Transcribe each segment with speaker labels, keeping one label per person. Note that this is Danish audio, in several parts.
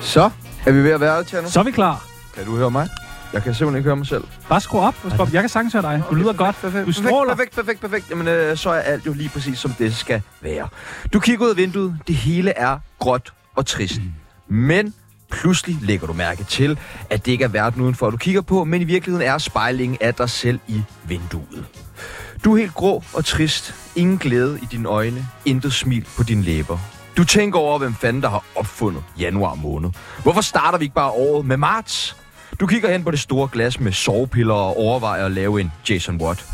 Speaker 1: Så er vi ved at være til nu.
Speaker 2: Så er vi klar.
Speaker 1: Kan du høre mig? Jeg kan simpelthen ikke høre mig selv.
Speaker 2: Bare skru op. Skru op. Jeg kan sagtens høre dig. Du lyder godt.
Speaker 1: Perfekt,
Speaker 2: Du stråler.
Speaker 1: Perfekt, perfekt, perfekt. Jamen, øh, så er alt jo lige præcis, som det skal være. Du kigger ud af vinduet. Det hele er gråt og trist. Men pludselig lægger du mærke til, at det ikke er verden udenfor, du kigger på, men i virkeligheden er spejlingen af dig selv i vinduet. Du er helt grå og trist. Ingen glæde i dine øjne. Intet smil på dine læber. Du tænker over, hvem fanden der har opfundet januar måned. Hvorfor starter vi ikke bare året med marts? Du kigger hen på det store glas med sovepiller og overvejer at lave en Jason Watt.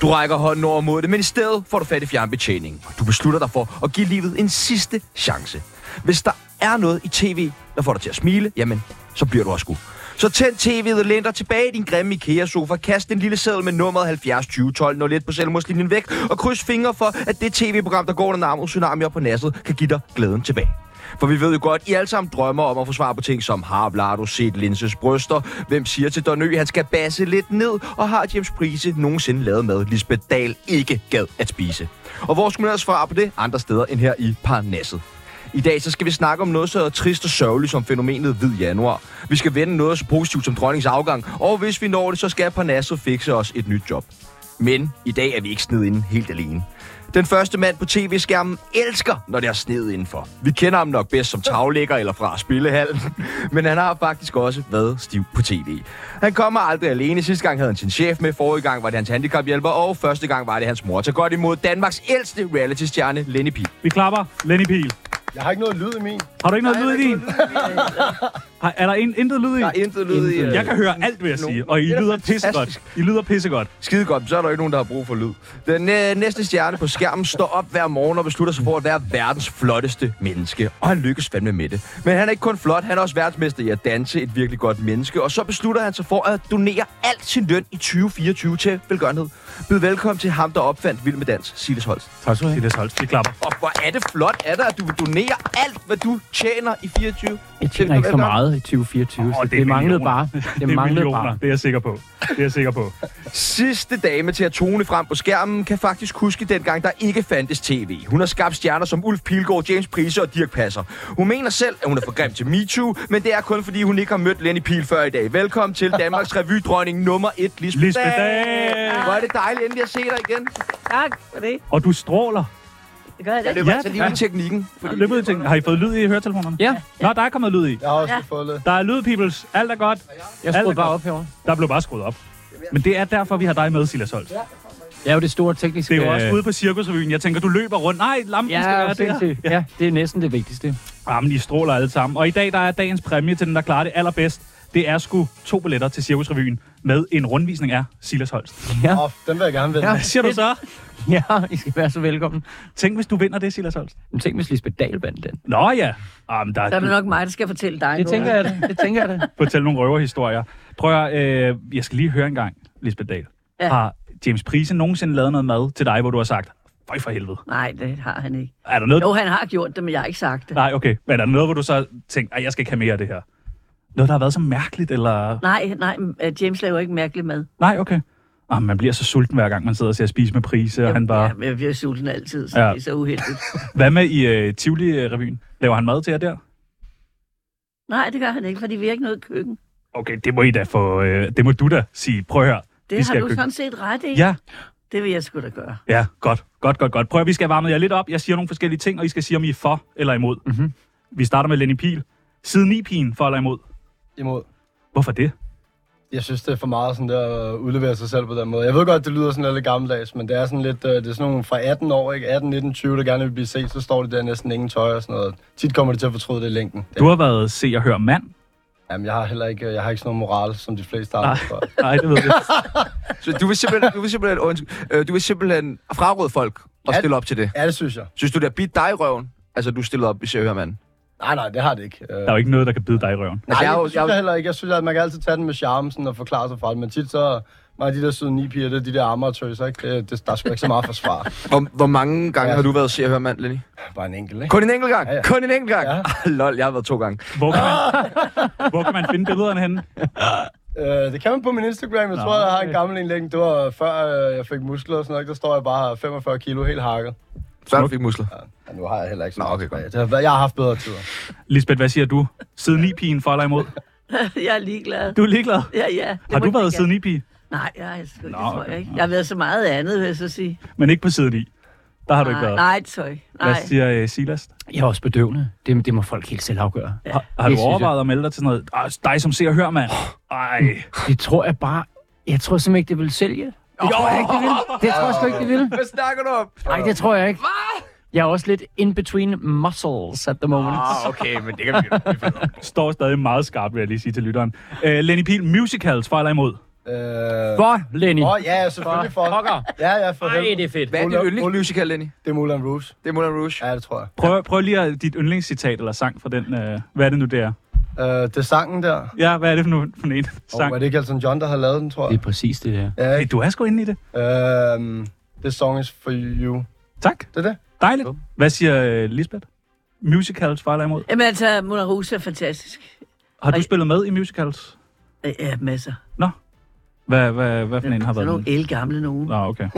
Speaker 1: Du rækker hånden over mod det, men i stedet får du fat i fjernbetjeningen. Du beslutter dig for at give livet en sidste chance. Hvis der er noget i tv, der får dig til at smile, jamen, så bliver du også god. Så tænd tv'et og læn dig tilbage i din grimme IKEA-sofa, kast en lille seddel med nummeret 70 20 12 01 på selvmordslinjen væk, og kryds fingre for, at det tv-program, der går under navnet Tsunami op på nasset, kan give dig glæden tilbage. For vi ved jo godt, I alle sammen drømmer om at få svar på ting som Har Vlado set Linses bryster? Hvem siger til Donø, han skal basse lidt ned? Og har James Prise nogensinde lavet mad, Lisbeth Dahl ikke gad at spise? Og hvor skulle man ellers svare på det? Andre steder end her i Parnasset. I dag så skal vi snakke om noget så trist og sørgeligt som fænomenet hvid januar. Vi skal vende noget så positivt som dronningens afgang, og hvis vi når det, så skal Parnasset fikse os et nyt job. Men i dag er vi ikke sned inden helt alene. Den første mand på tv-skærmen elsker, når det er sneet indenfor. Vi kender ham nok bedst som taglægger eller fra spillehallen, men han har faktisk også været stiv på tv. Han kommer aldrig alene. Sidste gang havde han sin chef med, forrige gang var det hans handicaphjælper, og første gang var det hans mor. Tag godt imod Danmarks ældste reality-stjerne, Lenny Pihl.
Speaker 2: Vi klapper. Lenny Pihl.
Speaker 3: Jeg har ikke noget lyd i min.
Speaker 2: Har du ikke noget lyd i din? Har- Er der in, intet lyd i?
Speaker 1: Der er intet lyd i. øh,
Speaker 2: Jeg kan høre alt, vil jeg sige. Og I lyder pissegodt. I lyder pissegodt.
Speaker 1: Skide godt, så er der ikke nogen, der har brug for lyd. Den øh, næste stjerne på skærmen står op hver morgen og beslutter sig for at være verdens flotteste menneske. Og han lykkes fandme med det. Men han er ikke kun flot, han er også verdensmester i at danse et virkelig godt menneske. Og så beslutter han sig for at donere alt sin løn i 2024 til velgørenhed. Byd velkommen til ham, der opfandt Vild med Dans, Silas Holst.
Speaker 2: Tak skal du have. Det er Holst. Vi klapper.
Speaker 1: Og hvor er det flot af dig, at du vil donere alt, hvad du tjener i 24.
Speaker 4: Jeg tjener ikke så
Speaker 2: altså-
Speaker 4: meget i 2024, oh, så det, det manglede bare.
Speaker 2: Det,
Speaker 4: Det,
Speaker 2: det er
Speaker 4: manglede
Speaker 2: millioner.
Speaker 4: bare.
Speaker 2: Det er jeg sikker på. Det er jeg sikker på.
Speaker 1: Sidste dame til at tone frem på skærmen kan faktisk huske dengang, der ikke fandtes tv. Hun har skabt stjerner som Ulf Pilgaard, James Price og Dirk Passer. Hun mener selv, at hun er for grim til MeToo, men det er kun fordi, hun ikke har mødt Lenny Pil før i dag. Velkommen til Danmarks revydronning nummer 1, Lisbeth,
Speaker 2: Lisbeth Dahl.
Speaker 1: Dahl. Hvor er det dejligt endelig at se dig igen.
Speaker 5: Tak for det.
Speaker 2: Og du stråler.
Speaker 5: Det gør jeg
Speaker 1: Jeg
Speaker 5: da.
Speaker 1: løber
Speaker 2: Ja,
Speaker 1: ja, altså lige ud i
Speaker 2: ja.
Speaker 1: teknikken. Fordi...
Speaker 2: Løb ud i ting. Har I fået lyd i høretelefonerne?
Speaker 4: Ja,
Speaker 2: Nå, der er kommet lyd i.
Speaker 3: Jeg har også
Speaker 5: Ja.
Speaker 3: ja. fået lidt.
Speaker 2: Der er lyd, peoples. Alt er godt.
Speaker 4: jeg
Speaker 2: Alt er
Speaker 4: skruede bare
Speaker 2: godt.
Speaker 4: op herovre.
Speaker 2: Der blev bare skruet op. Men det er derfor, vi har dig med, Silas Holst.
Speaker 4: Jeg er jo det store tekniske...
Speaker 2: Det er jo også
Speaker 4: øh,
Speaker 2: ude på Cirkusrevyen. Jeg tænker, du løber rundt. Nej, lampen skal
Speaker 4: Ja,
Speaker 2: være der.
Speaker 4: sindssygt. Ja, det er næsten det vigtigste.
Speaker 2: Jamen, I stråler alle sammen. Og i dag, der er dagens præmie til den, der klarer det allerbedst. Det er sgu to billetter til Cirkusrevyen med en rundvisning af Silas Holst.
Speaker 4: Ja,
Speaker 3: Åh, den vil jeg gerne vende.
Speaker 4: Ja.
Speaker 3: Ja.
Speaker 2: Hvad siger du så?
Speaker 4: ja I skal være så velkommen.
Speaker 2: Tænk, hvis du vinder det, Silas Holst.
Speaker 4: Men tænk, hvis Lisbeth Dahl vandt den.
Speaker 2: Nå ja. Jamen, der,
Speaker 5: Der er vel
Speaker 2: der
Speaker 5: nok mig, der skal fortælle dig
Speaker 4: Det
Speaker 5: noget.
Speaker 4: tænker jeg da. Det tænker jeg da.
Speaker 2: fortæl nogle røverhistorier. Prøv at, øh, jeg skal lige høre en gang, Lisbeth Dahl. Ja.
Speaker 5: Ja.
Speaker 2: Har James Prise nogensinde lavet noget mad til dig, hvor du har sagt, føj for helvede.
Speaker 5: Nej, det har han ikke.
Speaker 2: Er der noget?
Speaker 5: Jo, han har gjort det, men jeg har ikke sagt det.
Speaker 2: Nej, okay. Men er der noget, hvor du så tænkte, at jeg skal ikke have mere af det her? Noget, der har været så mærkeligt, eller...
Speaker 5: Nej, nej, øh, James laver ikke mærkelig mad.
Speaker 2: Nej, okay. Ah, man bliver så sulten hver gang, man sidder og ser spise med prise, og han bare...
Speaker 5: Ja, men jeg bliver sulten altid, så
Speaker 2: Ja.
Speaker 5: ja. det er så uheldigt.
Speaker 2: Hvad med i øh, Tivoli-revyen? Laver han mad til jer der?
Speaker 5: nej, det gør han ikke, fordi vi har ikke noget køkken.
Speaker 2: Okay, det må I da få... Øh, det må du da sige. Prøv at høre. vi
Speaker 5: Det har
Speaker 2: skal
Speaker 5: du
Speaker 2: køkken.
Speaker 5: sådan set ret i.
Speaker 2: Ja,
Speaker 5: Det vil jeg sgu da gøre.
Speaker 2: ja, godt. Godt, godt, godt. Prøv at vi skal varme jer lidt op. Jeg siger nogle forskellige ting, og I skal sige, om I er for eller imod.
Speaker 4: Mhm.
Speaker 2: Vi starter med Lenny Pil. Siden 9 pigen for eller imod.
Speaker 3: Imod.
Speaker 2: Hvorfor det?
Speaker 3: Jeg synes, det er for meget sådan der at udlevere sig selv på den måde. Jeg ved godt, det lyder sådan lidt gammeldags, men det er sådan lidt, øh, det er sådan nogle fra 18 år, ikke? 18, 19, 20, der gerne vil blive set, så står de der næsten ingen tøj og sådan noget. Tit kommer de til at fortryde det i længden. Det,
Speaker 2: Du har været se og høre mand.
Speaker 3: jamen, jeg har heller ikke, øh, jeg har ikke sådan noget moral, som de fleste andre
Speaker 2: Nej.
Speaker 3: for.
Speaker 2: Nej, det ved jeg ikke.
Speaker 1: Så du vil simpelthen, du vil simpelthen, undskyld, øh, du vil simpelthen fraråde folk at
Speaker 3: Ja.
Speaker 1: stille op til det.
Speaker 3: Ja, det synes jeg.
Speaker 1: Synes du, det er bidt dig i røven? Altså, du stiller op, hvis jeg hører manden.
Speaker 3: Nej, nej, det har det ikke. Øh,
Speaker 2: Der er jo ikke noget, der kan bide dig i røven.
Speaker 3: Nej,
Speaker 1: Altså, jeg er
Speaker 3: jeg,
Speaker 1: jo-
Speaker 3: jeg, synes
Speaker 1: jeg er jo-
Speaker 3: jeg heller ikke. Jeg synes, at man kan altid tage den med charme sådan, og forklare sig fra det. Men tit så mange af de der søde ni piger, det er de der amatøser, ikke? Det, det, der er sgu ikke så meget forsvar.
Speaker 1: Hvor, hvor mange gange
Speaker 3: Ja.
Speaker 1: har du været se og høre mand, Lenny?
Speaker 3: Bare en enkelt, ikke?
Speaker 1: Kun en enkelt gang?
Speaker 3: Ja, ja.
Speaker 1: Kun en enkelt gang?
Speaker 3: Ja.
Speaker 1: Ja. Lol, jeg har været to gange.
Speaker 2: Hvor kan man, hvor kan man finde billederne henne?
Speaker 3: Øh, det kan man på min Instagram. Jeg
Speaker 2: Nå,
Speaker 3: tror, jeg har en
Speaker 2: okay.
Speaker 3: gammel en længe. Det var øh, før øh, jeg fik muskler og sådan noget. ikke? Der står jeg bare 45 kilo helt hakket.
Speaker 1: Før du fik musler.
Speaker 3: Ja, nu har jeg heller ikke så
Speaker 1: Nå,
Speaker 3: meget
Speaker 1: okay,
Speaker 3: tilbage.
Speaker 1: godt.
Speaker 3: Det har, været- jeg har haft bedre tider.
Speaker 2: Lisbeth, hvad siger du? Siden 9-pigen for eller imod?
Speaker 5: jeg er ligeglad.
Speaker 2: Du er ligeglad.
Speaker 5: Ja, ja. det
Speaker 2: Har du
Speaker 5: må jeg
Speaker 2: været
Speaker 5: gerne.
Speaker 2: siden 9-pige?
Speaker 5: Nej, jeg har sgu ikke,
Speaker 2: Nå,
Speaker 5: det tror
Speaker 2: okay.
Speaker 5: jeg ikke. Jeg har været så meget andet, vil jeg så sige.
Speaker 2: Men ikke på siden 9. Der har du ikke
Speaker 5: nej,
Speaker 2: været.
Speaker 5: nej, tøj.
Speaker 2: Hvad
Speaker 5: Nej.
Speaker 2: siger uh, Silas?
Speaker 4: Jeg er også bedøvende. Det, det må folk helt selv afgøre.
Speaker 5: Ja.
Speaker 2: Har, har du
Speaker 4: det synes jeg.
Speaker 2: overvejet at melde dig til sådan noget? "Ah, Dig som ser og hører, mand. Ej.
Speaker 4: Det tror jeg bare... Jeg tror simpelthen ikke, det vil sælge. Det tror jeg ikke, det vil. Det tror jeg sgu ikke, det vil.
Speaker 1: Hvad snakker du om?
Speaker 4: Nej, det tror jeg ikke. Jeg er også lidt in between muscles at the moment.
Speaker 1: Ah, okay, men det kan vi jo
Speaker 2: Står stadig meget skarpt, vil jeg lige sige til lytteren. Uh, Lenny Pihl, musicals for eller imod?
Speaker 3: Øh,
Speaker 4: For, Lenny.
Speaker 3: Åh, oh, ja, selvfølgelig for. Ja, ja, for
Speaker 4: Nej, det
Speaker 3: helvede.
Speaker 4: er fedt.
Speaker 1: Hvad er
Speaker 3: Ole-
Speaker 1: din yndlingsmusical, Lenny?
Speaker 3: Det er Moulin Rouge.
Speaker 1: Det er Moulin Rouge.
Speaker 3: Ja, det tror jeg.
Speaker 2: Prøv, prøv lige at, dit yndlingscitat eller sang fra den. Uh, hvad er det nu, det er?
Speaker 3: Øh, det er sangen der.
Speaker 2: Ja, hvad er det for, nu, for en
Speaker 3: Og
Speaker 2: sang?
Speaker 3: var det ikke Elton John, der har lavet den, tror
Speaker 4: Det
Speaker 3: jeg?
Speaker 4: er præcis det der.
Speaker 3: Ja,
Speaker 2: Hey,
Speaker 3: ikke?
Speaker 2: du er sgu inde i det.
Speaker 3: Øhm, this song is for you.
Speaker 2: Tak.
Speaker 3: Det er det.
Speaker 2: Dejligt. Hvad siger uh, Lisbeth? Musicals for eller imod?
Speaker 5: Jamen altså, Mona Rosa er fantastisk.
Speaker 2: Har du
Speaker 5: Ej.
Speaker 2: spillet med i musicals?
Speaker 5: Øh, Ja, masser.
Speaker 2: Hvad, hvad, hvad for en har
Speaker 5: Sådan
Speaker 2: været
Speaker 5: nogle
Speaker 2: den?
Speaker 5: elgamle nogen.
Speaker 2: Nå, okay.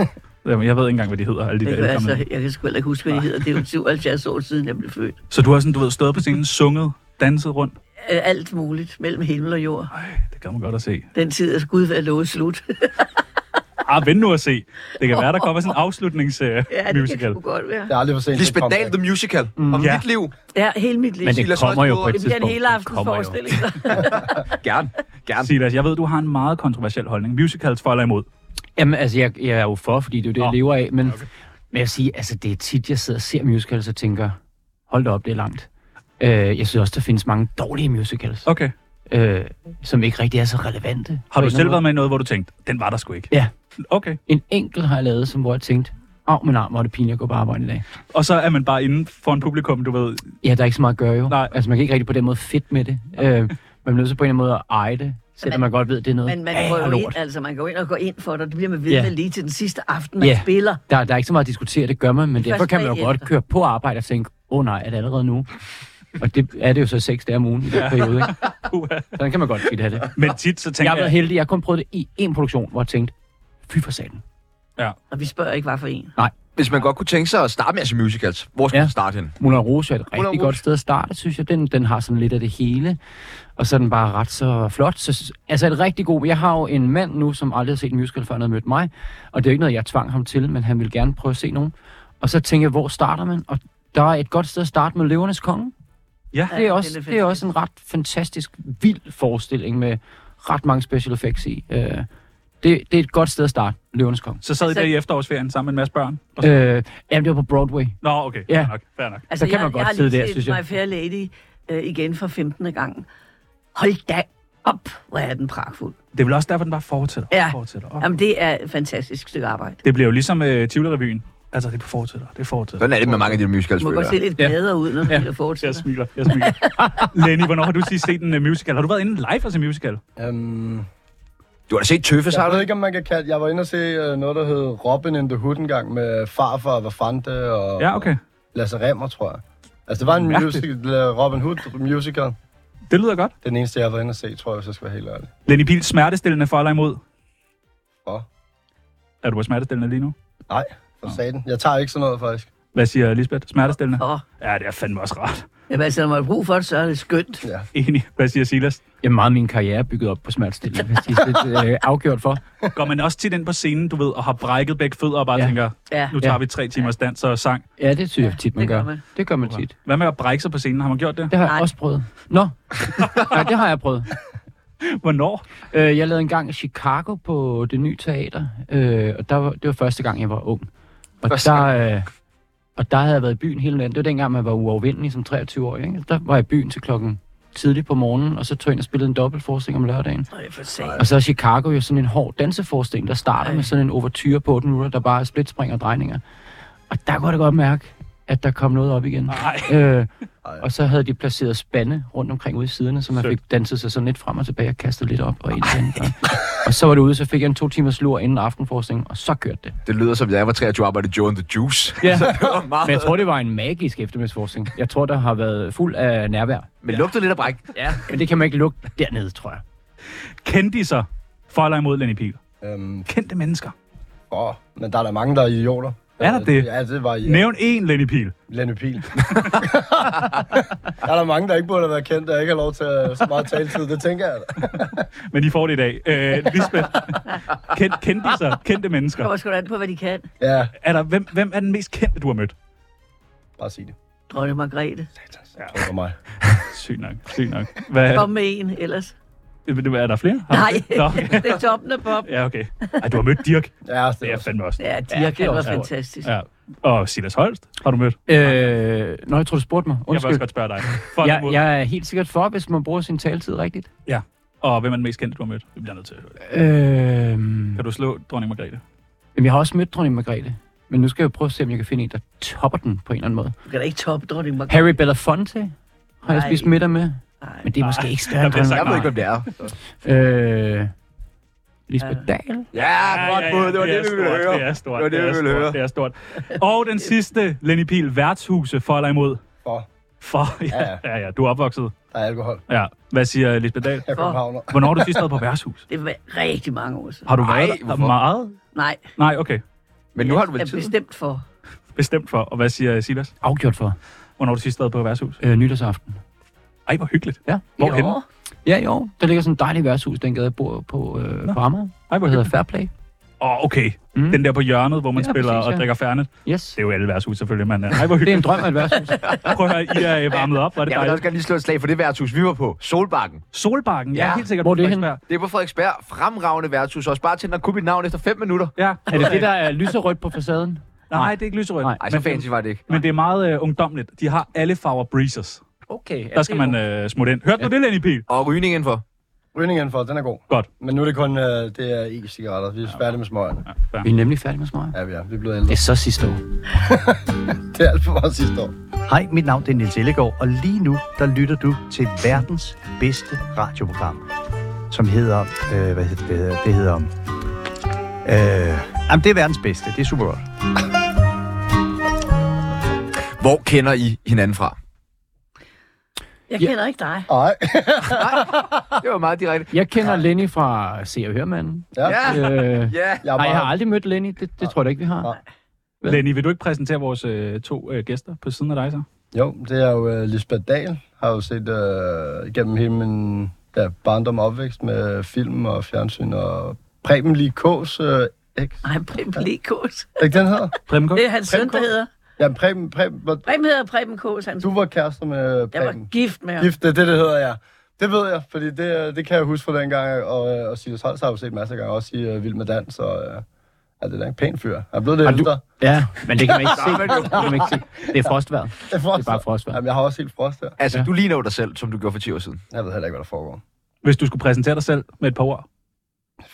Speaker 2: Jamen, Jeg ved ikke engang, hvad de hedder, alle de
Speaker 5: Det
Speaker 2: der
Speaker 5: kan, altså,
Speaker 2: elgamle.
Speaker 5: jeg kan sgu heller ikke huske, hvad de hedder. Det er jo 77 år siden, jeg blev født.
Speaker 2: Så du har sådan, du ved, stået på scenen, sunget, danset rundt.
Speaker 5: Øh, Alt muligt mellem himmel og jord.
Speaker 2: Det kan man godt at se.
Speaker 5: Den tid er skud ved at love slut.
Speaker 2: Ah, vent nu at se. Det kan være, der kommer sådan en
Speaker 5: ja, det
Speaker 2: afslutningsmusical.
Speaker 5: kan sgu godt være.
Speaker 3: Det er aldrig for sent. til et
Speaker 1: Lisbeth Dahl,
Speaker 3: comeback. Mm.
Speaker 1: The Musical. Om
Speaker 2: Ja.
Speaker 1: mit liv.
Speaker 5: Ja, hele mit liv.
Speaker 4: Men
Speaker 1: Silas
Speaker 4: det kommer jo
Speaker 1: Holst
Speaker 4: på
Speaker 1: Jørgensen.
Speaker 4: et
Speaker 5: Jamen,
Speaker 4: tidspunkt.
Speaker 5: den hele
Speaker 4: Det
Speaker 5: aftens
Speaker 4: kommer jo.
Speaker 5: forestilling.
Speaker 1: Gerne. Gerne.
Speaker 2: Silas, jeg ved, du har en meget kontroversiel holdning. Musicals for eller imod.
Speaker 4: Jamen, altså, jeg, jeg er jo for, fordi det er jo det, jeg
Speaker 2: Nå.
Speaker 4: lever af. Men, okay. men jeg vil sige, altså, det er tit, jeg sidder og ser musicals og tænker, hold da op, det er langt. Øh, jeg synes også, der findes mange dårlige musicals,
Speaker 2: Okay.
Speaker 4: øh, som ikke rigtig er så relevante.
Speaker 2: Har
Speaker 4: på
Speaker 2: du
Speaker 4: en
Speaker 2: selv
Speaker 4: eller
Speaker 2: været
Speaker 4: anden
Speaker 2: med i noget, hvor du tænkte, den var der sgu ikke?
Speaker 4: Ja.
Speaker 2: Okay.
Speaker 4: måde. En enkelt har jeg lavet, som, hvor jeg tænkte, åh, men arm, hvor er det pinligt at gå på arbejde i dag.
Speaker 2: Og så er man bare inde for en publikum, du ved.
Speaker 4: Ja, der er ikke så meget at gøre jo.
Speaker 2: Nej.
Speaker 4: Altså, man kan ikke rigtig på den måde fedt med det. Øh, man bliver nødt til på en eller anden måde at eje det, selvom man,
Speaker 5: Man-
Speaker 4: godt ved, det er noget.
Speaker 5: Men man
Speaker 4: af
Speaker 5: går
Speaker 4: og
Speaker 5: jo ind,
Speaker 4: lort.
Speaker 5: altså man går ind og går ind for dig. Det bliver man ved
Speaker 4: Ja.
Speaker 5: med lige til den sidste aften, man
Speaker 4: Ja.
Speaker 5: spiller.
Speaker 4: Der, der er ikke så meget at diskutere, det gør man, men
Speaker 5: Det er
Speaker 4: derfor
Speaker 5: først
Speaker 4: kan man jo
Speaker 5: bagefter.
Speaker 4: godt køre på arbejde og tænke, åh oh, nej, er det allerede nu? Og det er det jo så seks dage om ugen i den periode, ikke?
Speaker 2: Uha.
Speaker 4: Sådan kan man godt skidt have det.
Speaker 2: Men tit så
Speaker 4: Jeg
Speaker 2: tænker
Speaker 4: har været
Speaker 2: jeg,
Speaker 4: heldig, jeg har kun prøvet det i én produktion, hvor jeg tænkte, fy for satan.
Speaker 5: Og vi spørger ikke, hvad for en.
Speaker 1: Hvis man godt kunne tænke sig at starte med at se musicals, hvor skal
Speaker 4: Ja.
Speaker 1: man starte hen?
Speaker 4: Moulin Rouge er et rigtig
Speaker 1: Rouge.
Speaker 4: godt sted at starte, synes jeg. Den, den har sådan lidt af det hele, og så er den bare ret så flot. Så, altså et rigtig god... Jeg har jo en mand nu, som aldrig har set en musical, før han havde mødt mig, og det er jo ikke noget, jeg tvang ham til, men han ville gerne prøve at se nogen. Og så tænker jeg, hvor starter man? Og der er et godt sted at starte med Løvernes Konge.
Speaker 2: ja,
Speaker 4: det er, også,
Speaker 5: den er
Speaker 4: det er også en ret fantastisk, vild forestilling med ret mange special effects i. Øh, det, det er et godt sted at starte, Løvernes Konge.
Speaker 2: så sad I
Speaker 5: Så-
Speaker 2: der i efterårsferien sammen med en masse børn. Og så,
Speaker 4: Øh, jamen, det var på Broadway.
Speaker 2: Nå, okay,
Speaker 4: Øh. ja.
Speaker 2: fair nok, fair nok.
Speaker 5: Altså,
Speaker 4: Så kan man
Speaker 5: jeg,
Speaker 4: godt
Speaker 5: jeg har
Speaker 4: sidde
Speaker 5: lige
Speaker 4: der,
Speaker 5: set
Speaker 4: synes jeg.
Speaker 5: My Fair Lady øh, igen for 15. gang. Hold da op, hvor er den pragtfuld.
Speaker 2: Det er vel også derfor, den bare fortsætter. og
Speaker 5: Ja.
Speaker 2: fortsætter. og-
Speaker 5: Jamen, det er et fantastisk stykke arbejde.
Speaker 2: Det bliver jo ligesom øh, Tivoli-revyen. Altså, det fortsætter, det fortsætter.
Speaker 1: Sådan er det med mange af de musicals,
Speaker 5: Du må godt
Speaker 1: føler
Speaker 5: se
Speaker 1: jeg.
Speaker 5: lidt
Speaker 4: Ja.
Speaker 5: gladere ud, når du ja.
Speaker 2: Jeg
Speaker 5: fortsætter.
Speaker 2: smiler, jeg smiler. Lenny, hvornår har du sidst set en uh, musical? Har du været inde live og se musical?
Speaker 3: Øhm,
Speaker 1: Du har da set Tøffes, har
Speaker 3: jeg
Speaker 1: du
Speaker 3: ved
Speaker 1: ikke?
Speaker 3: ikke, om man kan kalde... Jeg var inde og se øh, noget, der hed Robin in the Hood engang med farfar og Vafante og
Speaker 2: Ja, okay.
Speaker 3: Lasse Remmer, tror jeg. Altså, det var en
Speaker 2: Mærkeligt.
Speaker 3: musical, øh, Robin Hood musical.
Speaker 2: Det lyder godt.
Speaker 3: Den eneste, jeg har været inde og se, tror jeg, hvis jeg skal være helt ærlig.
Speaker 2: Lenny Pihl, smertestillende for eller imod?
Speaker 3: For?
Speaker 2: Er du på smertestillende lige nu?
Speaker 3: Nej, for satan. Jeg tager ikke sådan noget, faktisk.
Speaker 2: Hvad siger Lisbeth? Smertestillende?
Speaker 5: Åh,
Speaker 2: Ja, det er fandme også rart.
Speaker 5: jamen, altså, når man har brug for det, så er det skønt.
Speaker 3: Ja.
Speaker 2: Enig. Hvad siger Silas?
Speaker 4: Jamen, meget af min karriere er bygget op på smertestillende, hvis det er lidt øh, afgjort for.
Speaker 2: Går man også tit ind på scenen, du ved, og har brækket begge fødder og bare ja.
Speaker 4: Ja.
Speaker 2: tænker,
Speaker 5: Ja,
Speaker 2: nu tager
Speaker 4: Ja.
Speaker 2: vi tre timers dans og sang.
Speaker 4: Ja, det synes jeg tit, man
Speaker 5: det gør
Speaker 4: gør.
Speaker 5: man.
Speaker 4: Det gør man tit.
Speaker 2: Hvad med at brække sig på scenen? Har man gjort det?
Speaker 4: Det har jeg
Speaker 5: Nej.
Speaker 4: også prøvet. Nå, nej, det har jeg prøvet.
Speaker 2: Hvornår?
Speaker 4: Øh, jeg lavede engang Chicago på det nye teater, øh, og der var, det var første gang, jeg var ung. Og
Speaker 1: Første
Speaker 4: der, øh, og der havde jeg været i byen hele natten. Det var dengang, man var uovervindelig som 23-årig. Ikke? Der var jeg i byen til klokken tidligt på morgenen, og så tog jeg ind og spillede en dobbeltforestilling om lørdagen.
Speaker 5: Nå, jeg får sagt.
Speaker 4: Og så er Chicago jo sådan en hård danseforestilling, der starter
Speaker 5: Ej.
Speaker 4: med sådan en overture på 8 minutter, der bare er splitspring og drejninger. Og der kunne jeg da godt mærke, at der kom noget op igen.
Speaker 2: Nej.
Speaker 4: Øh,
Speaker 3: Ej.
Speaker 4: og så havde de placeret spande rundt omkring ude i siderne, så man
Speaker 2: Sødt.
Speaker 4: fik danset sig sådan lidt frem og tilbage og kastet lidt op og ind igen. Og, og så var det ude, så fik jeg en to timers lur inden aftenforskning, og så kørte det.
Speaker 1: Det lyder som, da jeg var 23 og arbejdede i Joe and the Juice.
Speaker 4: Ja.
Speaker 1: Så det var meget...
Speaker 4: Men jeg tror, det var en magisk eftermiddagsforskning. Jeg tror, der har været fuld af nærvær.
Speaker 1: Men lugtede lidt af bræk.
Speaker 4: Ja. Men det kan man ikke lugte dernede, tror jeg.
Speaker 2: Kendisser for eller imod Lenny Pihl?
Speaker 3: Øhm,
Speaker 2: Kendte mennesker.
Speaker 3: for. Men der er der mange, der er idioter. Øh,
Speaker 2: Er der det?
Speaker 3: Ja, det var i
Speaker 2: Nævn én, Lenny Pihl.
Speaker 3: Lenny Pihl. der er der mange, der ikke burde have været kendt, der ikke har lov til at så meget taletid. Det tænker jeg. da.
Speaker 2: Men I får det i dag. Øh, Lisbeth, kendt, kendte, sig, kendte
Speaker 5: Det
Speaker 2: mennesker.
Speaker 5: kommer sgu da an på, hvad de kan.
Speaker 3: Ja,
Speaker 2: Er der, hvem, hvem er den mest kendte, du har mødt?
Speaker 3: bare sig det.
Speaker 5: Dronning Margrethe.
Speaker 3: Ja. Det var mig.
Speaker 2: Sygt nok, sygt nok. Hvad,
Speaker 5: Kom med en ellers.
Speaker 2: er der flere? Har du
Speaker 5: Nej,
Speaker 2: det? Nå, okay.
Speaker 5: det er toppen af pop.
Speaker 2: Ja, okay. Ej, du har mødt Dirk.
Speaker 3: Ja,
Speaker 2: Det er fandme også.
Speaker 5: Ja, de ja,
Speaker 4: det er
Speaker 5: kan være
Speaker 4: også
Speaker 2: sjovt.
Speaker 5: fantastisk. Ja.
Speaker 2: Ja. Og Silas Holst har du mødt.
Speaker 4: Øh, Nå, jeg tror, du spurgte mig.
Speaker 2: Jeg vil også
Speaker 4: Undskyld.
Speaker 2: godt spørge dig. For
Speaker 4: Jeg,
Speaker 2: ja, ja.
Speaker 4: jeg er helt sikkert for, hvis man bruger sin taletid rigtigt.
Speaker 2: Og hvem er den mest kendte, du har mødt? Vi bliver nødt til at høre det.
Speaker 4: Øhm,
Speaker 2: Kan du slå dronning Margrethe?
Speaker 4: jeg har også mødt dronning Margrethe. Men nu skal jeg jo prøve at se, om jeg kan finde en, der topper den på en eller anden måde.
Speaker 5: Du kan da ikke toppe Dronning Margrethe.
Speaker 4: Harry Belafonte har jeg
Speaker 5: Nej.
Speaker 4: spist middag med.
Speaker 5: Nej.
Speaker 4: Men det er måske
Speaker 2: Nej,
Speaker 4: ikke større end
Speaker 2: der bliver
Speaker 1: Jeg
Speaker 4: dronning.
Speaker 1: ved ikke,
Speaker 2: nej.
Speaker 1: hvem det er.
Speaker 4: Øh, Lisbeth
Speaker 5: Ja.
Speaker 4: Dahl.
Speaker 1: Ja, godt bud. Det var det,
Speaker 2: er
Speaker 1: vi ville høre.
Speaker 2: stort, Det er stort.
Speaker 1: Det var det, vi
Speaker 2: er
Speaker 1: ville
Speaker 2: stort,
Speaker 1: høre.
Speaker 2: Det er stort. Og den sidste, Lenny Pihl, værtshuse for eller imod?
Speaker 3: For.
Speaker 2: For,
Speaker 3: Ja,
Speaker 2: ja,
Speaker 3: ja.
Speaker 2: ja, ja. Du er opvokset.
Speaker 3: Der er alkohol.
Speaker 2: Ja. Hvad siger Lisbeth Dahl?
Speaker 3: Jeg er
Speaker 5: For.
Speaker 3: københavner.
Speaker 2: Hvornår har du sidst været på værtshus?
Speaker 5: Det var rigtig mange år siden.
Speaker 2: Har du
Speaker 1: Ej,
Speaker 2: været der
Speaker 1: hvorfor?
Speaker 2: meget?
Speaker 5: Nej,
Speaker 2: Nej, okay.
Speaker 1: Men nu har du
Speaker 5: jeg
Speaker 1: vel
Speaker 5: er
Speaker 1: tid.
Speaker 5: bestemt for.
Speaker 2: Bestemt for. Og hvad siger Silas?
Speaker 4: Afgjort for
Speaker 2: Hvornår har du sidst været på værtshus?
Speaker 4: øh, nytårsaften.
Speaker 2: Ej, hvor hyggeligt.
Speaker 4: Ja.
Speaker 2: Hvor henne?
Speaker 5: Jo,
Speaker 4: Ja, jo. Der ligger sådan en dejlig værtshus, den gade, jeg bor på, øh, på Amager.
Speaker 2: Ej, hvor
Speaker 4: Det hedder
Speaker 2: hyggeligt.
Speaker 4: Fairplay.
Speaker 2: Åh, oh, okay.
Speaker 4: Mm.
Speaker 2: Den der på hjørnet, hvor man ja,
Speaker 4: Ja,
Speaker 2: spiller
Speaker 4: præcis,
Speaker 2: og
Speaker 4: ja.
Speaker 2: drikker færnet.
Speaker 4: Yes.
Speaker 2: Det er jo alle værtshus selvfølgelig, men øh, ej, hvor
Speaker 4: Det er
Speaker 2: hyggeligt.
Speaker 4: en drøm af et værtshus.
Speaker 2: Prøv at høre, I er øh, varmet op. Var det
Speaker 1: Jeg vil også
Speaker 2: dejligt?
Speaker 1: gerne lige slå et slag for det værtshus, vi var på. Solbakken.
Speaker 2: Solbakken, ja,
Speaker 1: Ja.
Speaker 2: helt sikkert.
Speaker 4: Hvor er
Speaker 2: på
Speaker 4: det henne?
Speaker 2: Frederiksberg.
Speaker 1: Det er på Frederiksberg. Fremragende værtshus. Også bare til, når kunne mit navn efter 5 minutter.
Speaker 2: Ja,
Speaker 4: Er det det, der er lyserødt på facaden?
Speaker 2: Nej, det er ikke lyserødt.
Speaker 4: Nej.
Speaker 1: Ej, så
Speaker 2: men,
Speaker 1: fancy var det ikke.
Speaker 2: men det er meget øh, ungdomligt. De har alle farver breezers.
Speaker 4: Okay.
Speaker 2: Der skal man øh, smutte ind. Hørte du det, Lenny Pihl?
Speaker 1: Og rygning indenfor.
Speaker 3: Rygningen for, den er god.
Speaker 2: Godt.
Speaker 3: Men nu er det kun øh, det er e-cigaretter. Vi er færdige med smøgerne.
Speaker 2: Ja, fair.
Speaker 4: Vi er nemlig færdige med smøger.
Speaker 3: Ja, vi er. Vi er blevet
Speaker 4: Det
Speaker 3: ældre.
Speaker 4: er så sidste år.
Speaker 3: Det er alt for meget sidste år.
Speaker 6: Hej, mit navn er Nils Ellegaard, og lige nu der lytter du til verdens bedste radioprogram, som hedder... Øh, hvad hedder det? hedder- Det hedder... Øh, jamen, det er verdens bedste. Det er super godt.
Speaker 1: Hvor kender I hinanden fra?
Speaker 5: Jeg
Speaker 4: Ja.
Speaker 5: kender ikke dig.
Speaker 3: Nej.
Speaker 1: Det var meget direkte.
Speaker 4: Jeg kender Lenny fra Se og Hørmanden.
Speaker 3: Ja.
Speaker 1: Ja,
Speaker 4: Øh,
Speaker 1: ja.
Speaker 3: Jeg er
Speaker 4: nej, jeg har
Speaker 3: bare...
Speaker 4: aldrig mødt Lenny. Det, det tror jeg da ikke, vi har.
Speaker 3: Nej.
Speaker 2: Lenny, vil du ikke præsentere vores øh, to øh, gæster på siden af dig så?
Speaker 3: Jo, det er jo øh, Lisbeth Dahl. Har jo set øh, gennem hele min ja, barndom og opvækst med film og fjernsyn og Preben Lee K's... Øh, ikke?
Speaker 5: Nej, Preben Lekos.
Speaker 3: Er ikke den hedder?
Speaker 2: Preben Kås?
Speaker 5: Det er hans søn, der
Speaker 3: Kås?
Speaker 5: hedder.
Speaker 3: Ja, Preben, Preben, hvor,
Speaker 5: Preben hedder Preben Kås. Han,
Speaker 3: du var kærester med
Speaker 5: jeg var
Speaker 3: Preben.
Speaker 5: gift med ham.
Speaker 3: Gift, det er det, det hedder, ja. Det ved jeg, fordi det, øh, det kan jeg huske fra dengang, og, øh, og Silas Holst har jeg jo set masser af gange, også i uh, Vild med Dans, og uh, er det er da en pæn fyr. Er blevet det
Speaker 4: Og du-
Speaker 3: ældre?
Speaker 4: Ja, men det kan man ikke se. Det, kan man ikke se. det er frostvejr.
Speaker 3: Det er, frost,
Speaker 4: Det er bare frost, hva'?
Speaker 3: Jamen, jeg har også helt frost her.
Speaker 1: Altså, du ligner jo dig selv, som du gjorde for 10 år siden.
Speaker 3: Jeg ved heller ikke, hvad der foregår.
Speaker 2: Hvis du skulle præsentere dig selv med et par ord.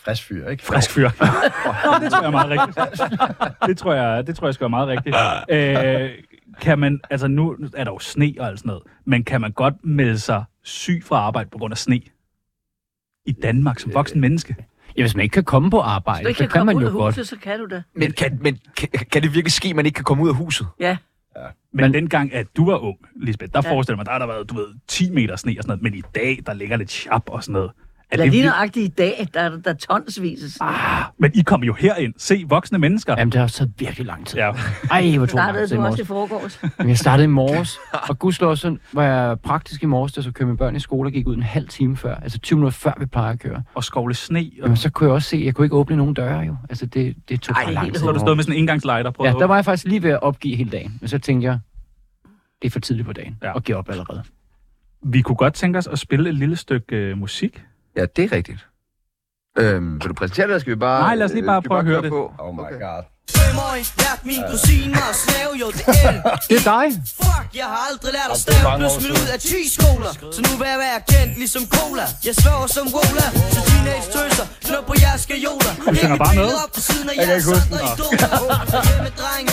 Speaker 3: Frisk fyr, ikke?
Speaker 2: Frisk fyr. Nå, det tror jeg er meget rigtigt. Det tror jeg, det tror jeg skal være meget rigtigt. Øh, kan man, altså nu er der jo sne og alt sådan noget, men kan man godt melde sig syg fra arbejde på grund af sne? I Danmark som voksen menneske?
Speaker 4: Ja, hvis man ikke kan komme på
Speaker 5: Hvis du
Speaker 4: arbejde, så
Speaker 5: ikke kan
Speaker 4: kan
Speaker 5: komme
Speaker 4: man
Speaker 5: ud af
Speaker 4: jo godt.
Speaker 5: huset, så kan du det.
Speaker 1: Men kan, men kan, kan det virkelig ske, at man ikke kan komme ud af huset?
Speaker 5: Ja,
Speaker 2: Men
Speaker 4: Men-
Speaker 2: dengang, at du var ung, Lisbeth, der ja.
Speaker 5: Ja.
Speaker 2: forestiller jeg mig, der har der været, du ved, 10 meter sne og sådan noget, men i dag, der ligger lidt chap og sådan noget. Er
Speaker 5: eller
Speaker 2: det
Speaker 5: lige
Speaker 2: vildt?
Speaker 5: nøjagtigt i dag, der er der tonsvis. Ah,
Speaker 2: Men I kom jo herind. Se voksne mennesker.
Speaker 4: Jamen, det har også taget virkelig lang tid.
Speaker 2: Ja.
Speaker 4: Ej, hvor tog det lang
Speaker 5: Startede
Speaker 4: tid i
Speaker 5: du også
Speaker 4: morges.
Speaker 5: i forgårs?
Speaker 4: Men Jeg startede i morges, og gudskelov så var jeg praktisk i morges, da jeg skulle køre mine børn i skole og gik ud en halv time før. Altså 20 minutter før vi plejer at køre.
Speaker 2: Og skovle sne. Og...
Speaker 4: Jamen, så kunne jeg også se, at jeg kunne ikke åbne nogen døre jo. Altså det, det tog
Speaker 1: Ej,
Speaker 4: bare lang
Speaker 5: helt
Speaker 4: tid.
Speaker 2: Så har du stået med sådan en engangslighter på.
Speaker 4: Ja, der var jeg faktisk lige ved at opgive hele dagen. Men så tænkte jeg, det er for tidligt på dagen
Speaker 2: Ja.
Speaker 4: ja. at give op allerede.
Speaker 2: Vi kunne godt tænke os at spille et lille stykke øh, musik.
Speaker 1: Ja, det er rigtigt. Øhm, vil du præsentere det, eller skal vi bare...
Speaker 2: Nej, lad os lige bare
Speaker 1: skal vi
Speaker 2: prøve at høre
Speaker 1: køre
Speaker 2: det.
Speaker 1: På?
Speaker 3: Oh my okay. god.
Speaker 7: Møg, vært min kusine og snæv jo til el.
Speaker 4: Det er dig!
Speaker 7: Fuck, jeg har aldrig lært at
Speaker 3: det er
Speaker 7: stave,
Speaker 3: mange
Speaker 7: blev
Speaker 3: år
Speaker 7: smidt
Speaker 3: siden.
Speaker 7: ud af 10 skoler. Så nu vil jeg være kendt ligesom cola. Jeg sværger som cola, så teenage tøser, knop på jeres skajoler. Du
Speaker 2: synger bare med.
Speaker 7: Op til siden, og
Speaker 3: Jeg
Speaker 7: jeg
Speaker 3: kan ikke huske den.
Speaker 7: med dreng,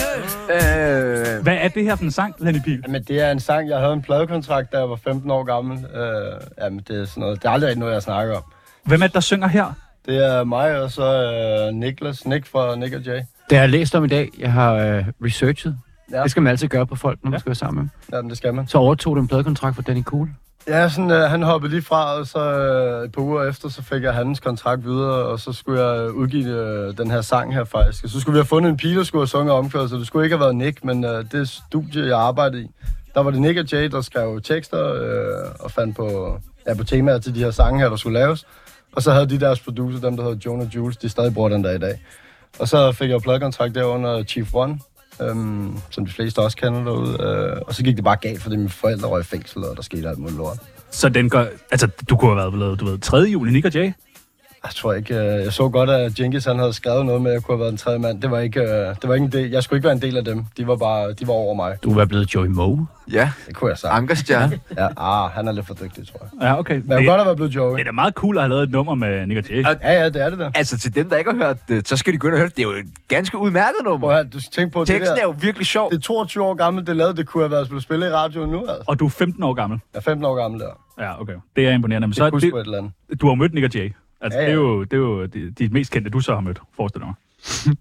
Speaker 1: Øh,
Speaker 2: Hvad er det her for en sang, Lenny Pihl?
Speaker 3: Jamen, det er en sang, jeg havde en pladekontrakt, da jeg var 15 år gammel. Øh, jamen, det er sådan noget, det er aldrig rigtig noget, jeg snakker om.
Speaker 2: Hvem er det, der synger her?
Speaker 3: Det er mig og så øh, Niklas, Nick fra Nick og Jay.
Speaker 4: Det har jeg læst om i dag. Jeg har øh, researchet.
Speaker 3: Ja.
Speaker 4: Ja. Det skal man altid gøre på folk, når man ja. skal være sammen med dem.
Speaker 3: Jamen, det skal man.
Speaker 4: Så overtog du en pladekontrakt for Danny Cool.
Speaker 3: Ja, sådan, øh, han hoppede lige fra, og så øh, et par uger efter, så fik jeg hans kontrakt videre, og så skulle jeg øh, udgive øh, den her sang her faktisk. Og så skulle vi have fundet en pige, der skulle have sunget omkørsel. Det skulle ikke have været Nick, men øh, det studie, jeg arbejdede i, der var det Nick og Jay, der skrev tekster øh, og fandt på, ja, på temaer til de her sange her, der skulle laves. Og så havde de deres producer, dem der hedder Jonah Jules, de stadig bruger den der i dag. Og så fik jeg jo pladekontrakt der under Chief One, øhm, som de fleste også kender derude. Øh, og så gik det bare galt, fordi mine forældre røg i fængsel, og der skete alt muligt lort.
Speaker 2: Så den gør... Altså, du kunne have været blevet, du ved, 3. juli, Nick og Jay.
Speaker 3: Jeg tror ikke, øh, jeg så godt, at Jenkins han havde skrevet noget med, at jeg kunne have været en tredje mand. Det var ikke, øh, det var ikke en del. Jeg skulle ikke være en del af dem. De var bare, de var over mig.
Speaker 4: Du var blevet Joey Moe.
Speaker 1: Ja,
Speaker 3: Det kunne jeg sagt.
Speaker 1: Ankerstjerne.
Speaker 3: Ja, ah, han er lidt for dygtig, tror jeg.
Speaker 2: Ja, okay.
Speaker 3: Men jeg kunne godt have været blevet Joey.
Speaker 2: det er da meget cool at have lavet et nummer med Nick og Jay.
Speaker 3: Ja, ja, det er det der.
Speaker 1: altså til dem, der ikke har hørt det, så skal de gå ind og høre det. Det er jo et ganske udmærket
Speaker 3: Prøv
Speaker 1: nummer.
Speaker 3: at høre, du skal tænke på, at det, der,
Speaker 1: Teksten er jo virkelig sjov.
Speaker 3: det er 22 år gammelt, det lavede, det kunne have været blevet spillet i radioen nu, altså.
Speaker 2: Og du er 15 år gammel.
Speaker 3: Jeg er 15 år gammel der.
Speaker 2: Ja, okay. Det er imponerende. Men så,
Speaker 3: Det
Speaker 2: er
Speaker 3: kunne sgu et
Speaker 2: det,
Speaker 3: eller andet.
Speaker 2: du har jo mødt Nick og Jay. Altså,
Speaker 3: Ja,
Speaker 2: ja,
Speaker 3: ja.
Speaker 2: ja. det er jo, det er jo de, de mest kendte, du så har mødt, forestiller jeg mig.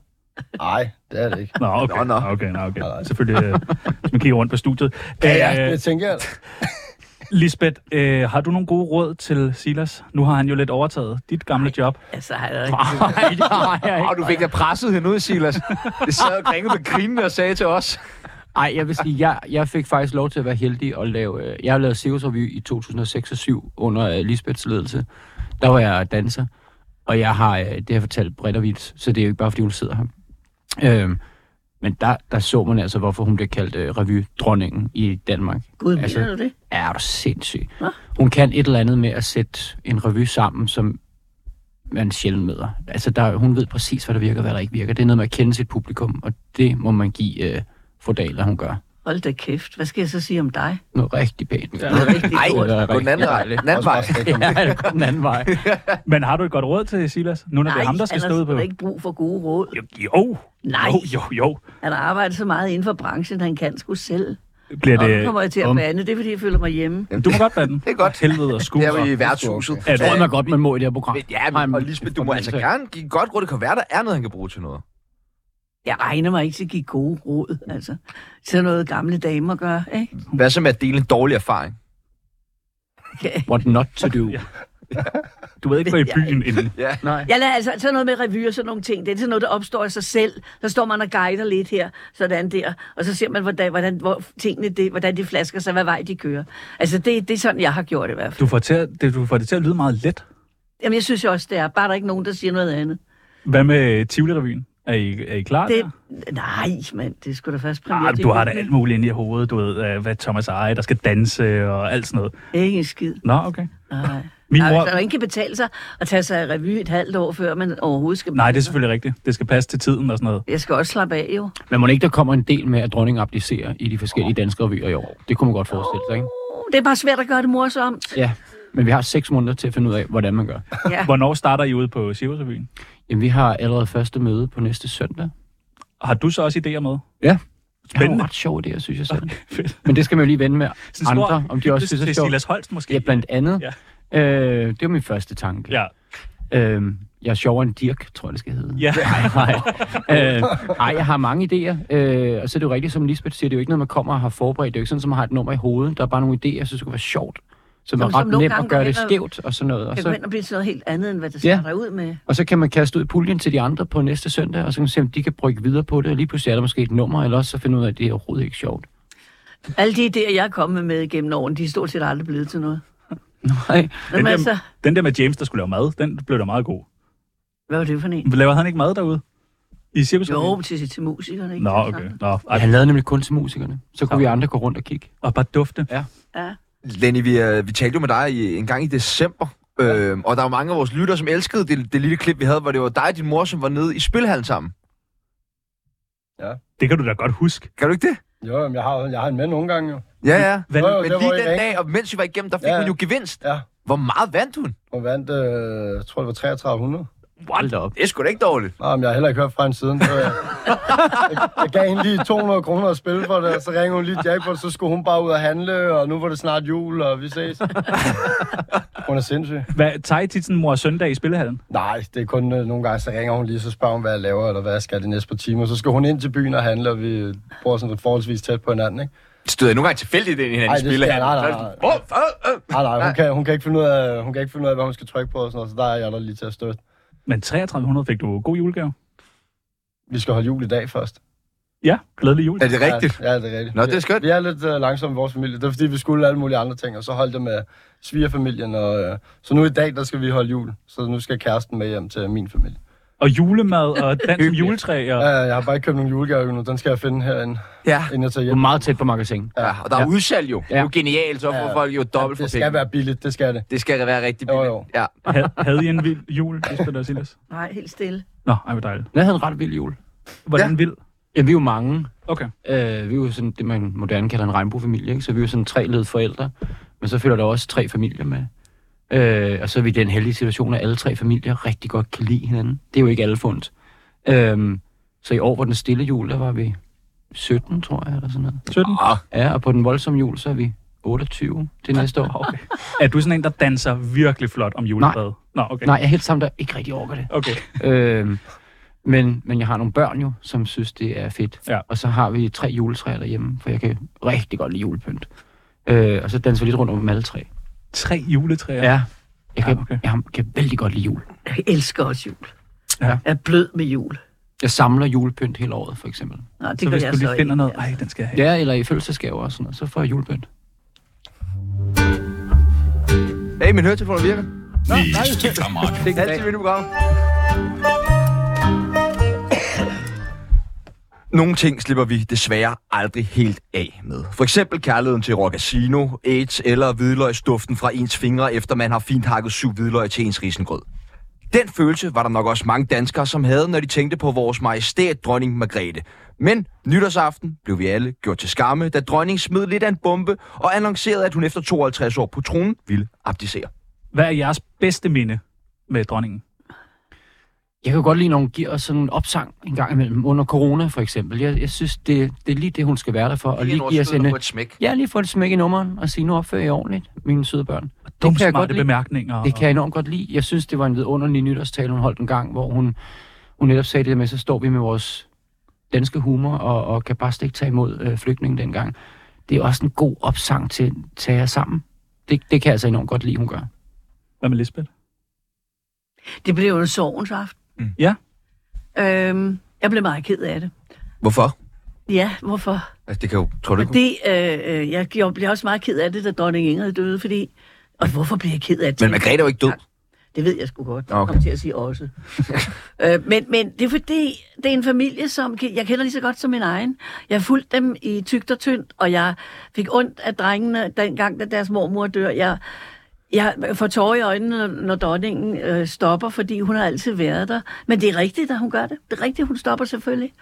Speaker 3: Nej, det er det ikke.
Speaker 2: Nå, okay.
Speaker 1: Nå,
Speaker 2: Nå,
Speaker 1: nå.
Speaker 2: nå. Okay, nå, okay.
Speaker 3: Nej, nej.
Speaker 2: Selvfølgelig, øh, hvis man kigger rundt på studiet.
Speaker 3: Ja, ja,
Speaker 2: Øh,
Speaker 3: det tænker jeg.
Speaker 2: Lisbeth, øh, har du nogle gode råd til Silas? Nu har han jo lidt overtaget dit gamle job.
Speaker 5: Altså, han er
Speaker 2: Ah,
Speaker 5: ikke...
Speaker 4: Nej, det har jeg
Speaker 1: Og du fik da presset hende ud, Silas. Det sad og grinede med grinene og sagde til os.
Speaker 4: Ej, jeg vil sige, jeg, jeg fik faktisk lov til at være heldig og lave... Øh, jeg lavede Circus Revy i 2006 og 7 under øh, Lisbeths ledelse. Der var jeg danser, og jeg har, øh, det har jeg fortalt bredt og vildt, så det er jo ikke bare, fordi hun sidder her. Øhm, men der, der så man altså, hvorfor hun blev kaldt øh, revydronningen i Danmark.
Speaker 5: Gud, mener
Speaker 4: Altså-
Speaker 5: altså... du det?
Speaker 4: er du sindssyg.
Speaker 5: Hva?
Speaker 4: Hun kan et eller andet med at sætte en revy sammen, som man sjældent møder. Altså, der, hun ved præcis, hvad der virker og hvad der ikke virker. Det er noget med at kende sit publikum, og det må man give øh, Fordal, at hun gør.
Speaker 5: Hold da kæft. Hvad skal jeg så sige om dig?
Speaker 4: Noget rigtig pænt. Ja,
Speaker 5: Det er rigtig
Speaker 1: Ej,
Speaker 5: godt.
Speaker 1: gå den anden vej. Den anden
Speaker 3: Også
Speaker 1: vej.
Speaker 3: bare stik.
Speaker 4: ja det går den anden vej.
Speaker 2: Men har du et godt råd til Silas? Nu når det er ham, der skal
Speaker 5: han
Speaker 2: stå
Speaker 5: har
Speaker 2: ud på...
Speaker 5: sgu da ikke brug for gode råd.
Speaker 2: Jo, jo,
Speaker 5: Nej.
Speaker 2: jo, jo, jo.
Speaker 5: Han har arbejdet så meget inden for branchen, han kan sgu selv.
Speaker 2: Bliver
Speaker 5: Og nu kommer
Speaker 2: det...
Speaker 5: jeg til at
Speaker 4: om-
Speaker 5: bande. Det er, fordi jeg føler mig hjemme.
Speaker 2: Du må godt være den.
Speaker 1: Det er godt.
Speaker 2: Helvede og
Speaker 1: Det er
Speaker 2: skuer.
Speaker 1: vi i værtshuset. Øh,
Speaker 4: Jeg tror man godt, man må i det her program.
Speaker 1: Men, ja,
Speaker 4: Har
Speaker 1: men,
Speaker 4: en-
Speaker 1: og Lisbeth, du må altså gerne give et godt råd. Det kan være, der er noget, han kan bruge til noget.
Speaker 5: Jeg regner mig ikke til at give gode råd, altså. Sådan noget gamle damer gør, ikke?
Speaker 1: Hvad så med at dele en dårlig erfaring?
Speaker 4: What not to do.
Speaker 2: Du ved ikke, hvor i byen inden.
Speaker 1: Ja.
Speaker 5: Jeg lader altså sådan noget med revyer og sådan nogle ting. Det er sådan noget, der opstår af sig selv. Så står man og guider lidt her, sådan der. Og så ser man, hvordan, hvordan hvor tingene det, hvordan de flasker sig, hvad vej de kører. Altså, det, det er sådan, jeg har gjort i hvert fald.
Speaker 2: Du får, til at, det, du får det til at lyde meget let.
Speaker 5: Jamen, jeg synes jo også, det er. Bare der er ikke nogen, der siger noget andet.
Speaker 2: Hvad med Tivoli-revyen? Er I, er I klar
Speaker 5: Det,
Speaker 2: der?
Speaker 5: nej, mand, det skulle da først premiere.
Speaker 2: Ah,
Speaker 5: til
Speaker 2: du har da
Speaker 5: juni.
Speaker 2: alt muligt inde i hovedet. Du ved, øh, hvad Thomas Eje, der skal danse og alt sådan noget.
Speaker 5: Ikke en skid.
Speaker 2: Nå, okay.
Speaker 5: Nej.
Speaker 2: Min
Speaker 5: Nej,
Speaker 2: mor-
Speaker 5: altså, ingen kan betale sig at tage sig i revy et halvt år, før man overhovedet skal...
Speaker 2: Nej, det er selvfølgelig rigtigt. Det skal passe til tiden og sådan noget.
Speaker 5: Jeg skal også slappe af, jo.
Speaker 4: Men må ikke, der kommer en del med, at dronningen abdicerer i de forskellige danske revyer i år. Det kunne man godt forestille sig, ikke?
Speaker 5: Uh, Det er bare svært at gøre det morsomt.
Speaker 4: Ja. Men vi har seks måneder til at finde ud af, hvordan man gør.
Speaker 5: Ja.
Speaker 2: Hvornår starter I ude på Cirkusrevyen?
Speaker 4: Jamen, vi har allerede første møde på næste søndag.
Speaker 2: Har du så også idéer med?
Speaker 4: Ja. Det er
Speaker 2: Spændende.
Speaker 4: nogle ret sjove idéer, synes jeg selv.
Speaker 2: Fedt.
Speaker 4: Men det skal man jo lige vende med
Speaker 2: Sådan en stor
Speaker 4: andre, om de også
Speaker 2: hyldest
Speaker 4: synes, det er
Speaker 2: til
Speaker 4: sjovt.
Speaker 2: Silas Holst måske.
Speaker 4: Ja, blandt andet.
Speaker 2: Ja.
Speaker 4: Øh, det var min første tanke.
Speaker 2: Ja.
Speaker 4: Øh, jeg er sjovere end Dirk, tror jeg, det skal hedde.
Speaker 2: Ja.
Speaker 4: Nej, øh, ej, jeg har mange idéer, øh, og så er det jo rigtigt, som Lisbeth siger, det er jo ikke noget, man kommer og har forberedt. Det er jo ikke sådan, at man har et nummer i hovedet. Der er bare nogle idéer, jeg synes, det kunne være sjovt. Som,
Speaker 5: Som-
Speaker 4: er
Speaker 5: som
Speaker 4: ret
Speaker 5: nogle
Speaker 4: nemt
Speaker 5: gange
Speaker 4: at
Speaker 5: går
Speaker 4: gøre det
Speaker 5: hen og-
Speaker 4: skævt og sådan noget. Og
Speaker 5: Jeg kan gå hen
Speaker 4: så,
Speaker 5: og blive til noget helt andet, end hvad det
Speaker 4: Ja.
Speaker 5: starter ud med.
Speaker 4: og så kan man kaste ud i puljen til de andre på næste søndag, og så kan man se, om de kan brygge videre på det, og lige pludselig er der måske et nummer, eller også så finder man ud af, at det er overhovedet ikke sjovt.
Speaker 5: Alle de idéer, jeg er kommet med gennem årene, de er stort set aldrig blevet til noget.
Speaker 4: Nej.
Speaker 5: Men
Speaker 2: der-
Speaker 5: altså,
Speaker 2: Den der med James, der skulle lave mad, den blev da meget god.
Speaker 5: hvad var det for en?
Speaker 2: Laver han ikke mad derude? I cirkusrevyen?
Speaker 5: Jo, til, til musikerne, ikke? Altså,
Speaker 2: Nå, okay. Nå,
Speaker 4: Ja,
Speaker 2: ej,
Speaker 4: han lavede nemlig kun til musikerne. Så kunne vi andre gå rundt og kigge.
Speaker 2: og bare dufte.
Speaker 5: Ja.
Speaker 1: Lenny, vi, øh, vi talte jo med dig i, en gang i december, øhm, og der var mange af vores lyttere, som elskede det, det lille klip, vi havde, hvor det var dig og din mor, som var nede i spilhallen sammen.
Speaker 2: Det kan du da godt huske.
Speaker 1: Kan du ikke det?
Speaker 3: Jo, jamen, jeg har, jeg har en mand nogle gange jo.
Speaker 1: Ja, ja.
Speaker 2: Hvad,
Speaker 3: Jo, jo,
Speaker 1: Men
Speaker 3: det var
Speaker 1: lige
Speaker 3: i
Speaker 1: den
Speaker 3: dag.
Speaker 1: dag, og mens vi var igennem, der fik
Speaker 3: Ja.
Speaker 1: hun jo gevinst.
Speaker 3: Ja,
Speaker 1: Hvor meget vandt hun?
Speaker 3: hun vandt, øh, jeg tror det var 3300.
Speaker 4: Hold da op.
Speaker 1: Det er sgu da ikke dårligt.
Speaker 3: Nej, men jeg har heller ikke hørt fra hende siden. Så jeg, jeg, jeg gav hende lige 200 kroner at spille for det, og så ringede hun lige jackpot, så skulle hun bare ud og handle, og nu var det snart jul, og vi ses. Hun er sindssyg.
Speaker 2: hvad tager I tit sådan mor og søndag i spillehallen?
Speaker 3: Nej, det er kun øh, nogle gange, så ringer hun lige, så spørger hun, hvad jeg laver, eller hvad jeg skal de næste par timer. Så skal hun ind til byen og handle, og vi bor sådan forholdsvis tæt på hinanden, ikke?
Speaker 1: støder I nogle gange tilfældigt ind i hinanden
Speaker 3: Ej,
Speaker 1: i
Speaker 3: det
Speaker 1: spillet.
Speaker 3: skal- nej, nej, nej.
Speaker 1: Åh, åh, åh.
Speaker 3: Nej, nej, hun kan, hun, kan ikke finde ud af, hun kan ikke finde ud af, hvad hun skal trykke på og sådan noget, så der er jeg der lige til at støtte.
Speaker 2: Men 3300 fik du god julegave.
Speaker 3: Vi skal holde jul i dag først.
Speaker 2: Ja, glædelig jul.
Speaker 1: Er det rigtigt?
Speaker 3: Ja, ja det er rigtigt.
Speaker 1: Nå, det er skønt.
Speaker 3: Vi, vi er lidt uh, langsomme i vores familie. Det er fordi, vi skulle alle mulige andre ting, og så holdt det med svigerfamilien. Og, uh, så nu i dag, der skal vi holde jul. Så nu skal kæresten med hjem til min familie.
Speaker 2: Og julemad og dans om juletræ. Og...
Speaker 3: Ja, jeg har bare ikke købt nogen julegave endnu. Den skal jeg finde herinde,
Speaker 1: Ja.
Speaker 3: inden jeg tager
Speaker 4: Du er
Speaker 3: hjem.
Speaker 4: meget tæt på magasin.
Speaker 1: ja. Og der er udsalg jo. Det er jo genialt, så får
Speaker 3: Ja.
Speaker 1: folk jo dobbelt for
Speaker 3: Det skal
Speaker 1: penge.
Speaker 3: være billigt, det skal det.
Speaker 1: Det skal være rigtig
Speaker 3: Jo,
Speaker 1: billigt.
Speaker 3: jo.
Speaker 1: Ja.
Speaker 2: Ha- Havde I en vild jul, Lisbeth og Silas?
Speaker 5: Nej, helt stille.
Speaker 2: Nå, ej, hvor dejligt.
Speaker 4: Jeg havde en ret vild jul.
Speaker 2: Hvordan vild?
Speaker 4: Ja, vi er jo mange.
Speaker 2: Okay.
Speaker 4: Øh, vi er jo sådan det, man moderne kalder en regnbuefamilie, ikke? så vi er jo sådan tre led forældre, men så følger der også tre familier med. Øh, og så er vi i den heldige situation, at alle tre familier rigtig godt kan lide hinanden. Det er jo ikke alle fundet. Øh, så i år var den stille jul, der var vi 17, tror jeg, eller sådan noget.
Speaker 2: 17.
Speaker 1: Ah,
Speaker 4: Ja, og på den voldsomme jul, så er vi 28 det næste år.
Speaker 2: Okay. Er du sådan en, der danser virkelig flot om julemad? Nå, okay.
Speaker 4: Nej, jeg er helt sammen, der ikke rigtig orker det.
Speaker 2: Okay.
Speaker 4: Øh, men, men jeg har nogle børn jo, som synes, det er fedt.
Speaker 2: Ja.
Speaker 4: Og så har vi tre juletræer derhjemme, for jeg kan rigtig godt lide julepynt. Øh, og så danser vi lidt rundt om alle tre.
Speaker 2: Tre juletræer.
Speaker 4: Ja. Jeg kan,
Speaker 2: Ja, okay.
Speaker 4: jeg kan vældig godt lide jul.
Speaker 5: Jeg elsker også jul.
Speaker 2: Ja.
Speaker 5: Jeg er blød med jul.
Speaker 4: Jeg samler julepynt hele året, for eksempel.
Speaker 5: Nå, det
Speaker 2: så
Speaker 5: gør
Speaker 2: hvis
Speaker 5: jeg
Speaker 2: du
Speaker 5: så
Speaker 2: lige finder
Speaker 5: ikke.
Speaker 2: noget, ej, den skal jeg have.
Speaker 4: Ja, eller i fødselsdagsgaver og sådan noget, så får jeg julepynt.
Speaker 1: Hey, min høretelefoner virker.
Speaker 8: Kammerat.
Speaker 1: Det er altid mit program. Nogle ting slipper vi desværre aldrig helt af med. For eksempel kærligheden til Rocasino, AIDS eller hvidløgsduften fra ens fingre, efter man har fint hakket syv hvidløg til ens risengrød. Den følelse var der nok også mange danskere, som havde, når de tænkte på vores majestæt, dronning Margrethe. Men nytårsaften blev vi alle gjort til skamme, da dronningen smed lidt af en bombe og annoncerede, at hun efter 52 år på tronen ville abdicere.
Speaker 2: Hvad er jeres bedste minde med dronningen?
Speaker 4: Jeg kan godt lide, når hun giver os sådan en opsang en gang imellem, under corona for eksempel. Jeg, jeg synes, det, det er lige det, hun skal være der for. Og lige give os en, øh,
Speaker 1: på et smæk.
Speaker 4: ja, lige få et smæk i nummeren og sige, nu opfører I ordentligt, mine søde børn.
Speaker 2: Dumme
Speaker 4: kan jeg
Speaker 2: smarte
Speaker 4: godt lide.
Speaker 2: bemærkninger.
Speaker 4: Det kan jeg enormt godt lide. Jeg synes, det var en vidunderlig nytårstale, hun holdt en gang, hvor hun, hun netop sagde det der med, så står vi med vores danske humor og, og kan bare slet ikke tage imod øh, flygtninge dengang. Det er også en god opsang til tage jer sammen. Det, det kan jeg altså enormt godt lide, hun gør.
Speaker 2: Hvad med Lisbeth?
Speaker 5: Det blev jo en sorgens aften.
Speaker 1: Mm.
Speaker 2: Ja.
Speaker 5: Øhm, jeg blev meget ked af det.
Speaker 1: Hvorfor?
Speaker 5: Ja, hvorfor?
Speaker 1: Altså, det kan jo... Tror du ikke?
Speaker 5: Fordi øh, øh, jeg gjorde- blev også meget ked af det, da dronning Ingrid døde, fordi... Og hvorfor blev jeg ked af det?
Speaker 1: Men Margrethe er jo ikke død.
Speaker 5: Det ved jeg sgu godt.
Speaker 1: Okay.
Speaker 5: Okay. Kom til at sige også. øh, men, men det er fordi, det er en familie, som ke- jeg kender lige så godt som min egen. Jeg fulgte dem i tygt og tyndt, og jeg fik ondt af drengene dengang, da deres mormor dør. Jeg, jeg får tårer i øjnene, når- når dronningen øh, stopper, fordi hun har altid været der. Men det er rigtigt, at hun gør det. Det er rigtigt, hun stopper selvfølgelig.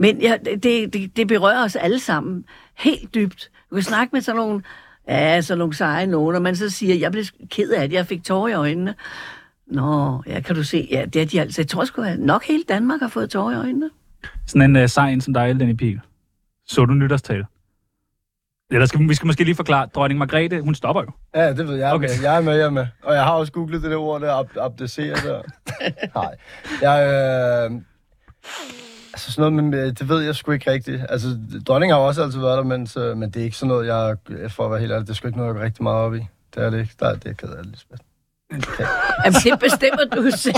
Speaker 5: Men ja, det, det, det berører os alle sammen helt dybt. Du kan snakke med sådan nogle, ja, sådan nogle seje nogen, og man så siger, jeg blev ked af det, jeg fik tårer i øjnene. Nå, ja, kan du se, ja, det er de altså. Jeg tror sgu, at nok hele Danmark har fået tårer i øjnene.
Speaker 2: Sådan en uh, sej en som dig, Lenny Pihl. Så du nytårstale? Ja, der skal, vi skal måske lige forklare, dronning Margrethe, hun stopper jo.
Speaker 3: Ja, det ved jeg.
Speaker 2: Okay.
Speaker 3: Okay. Med. Jeg er med, jeg er med. Og jeg har også googlet det der ord der, ab- abdicere der. Nej. Jeg, øh, altså sådan noget med, det ved jeg sgu ikke rigtigt. Altså, dronningen har jo også altid været der, men, så, men det er ikke sådan noget, jeg, for at være helt ærlig, det er sgu ikke noget, jeg går rigtig meget op i. Det er det ikke. Der er det, jeg er ked af, Lisbeth.
Speaker 5: Jamen, det bestemmer du jo selv.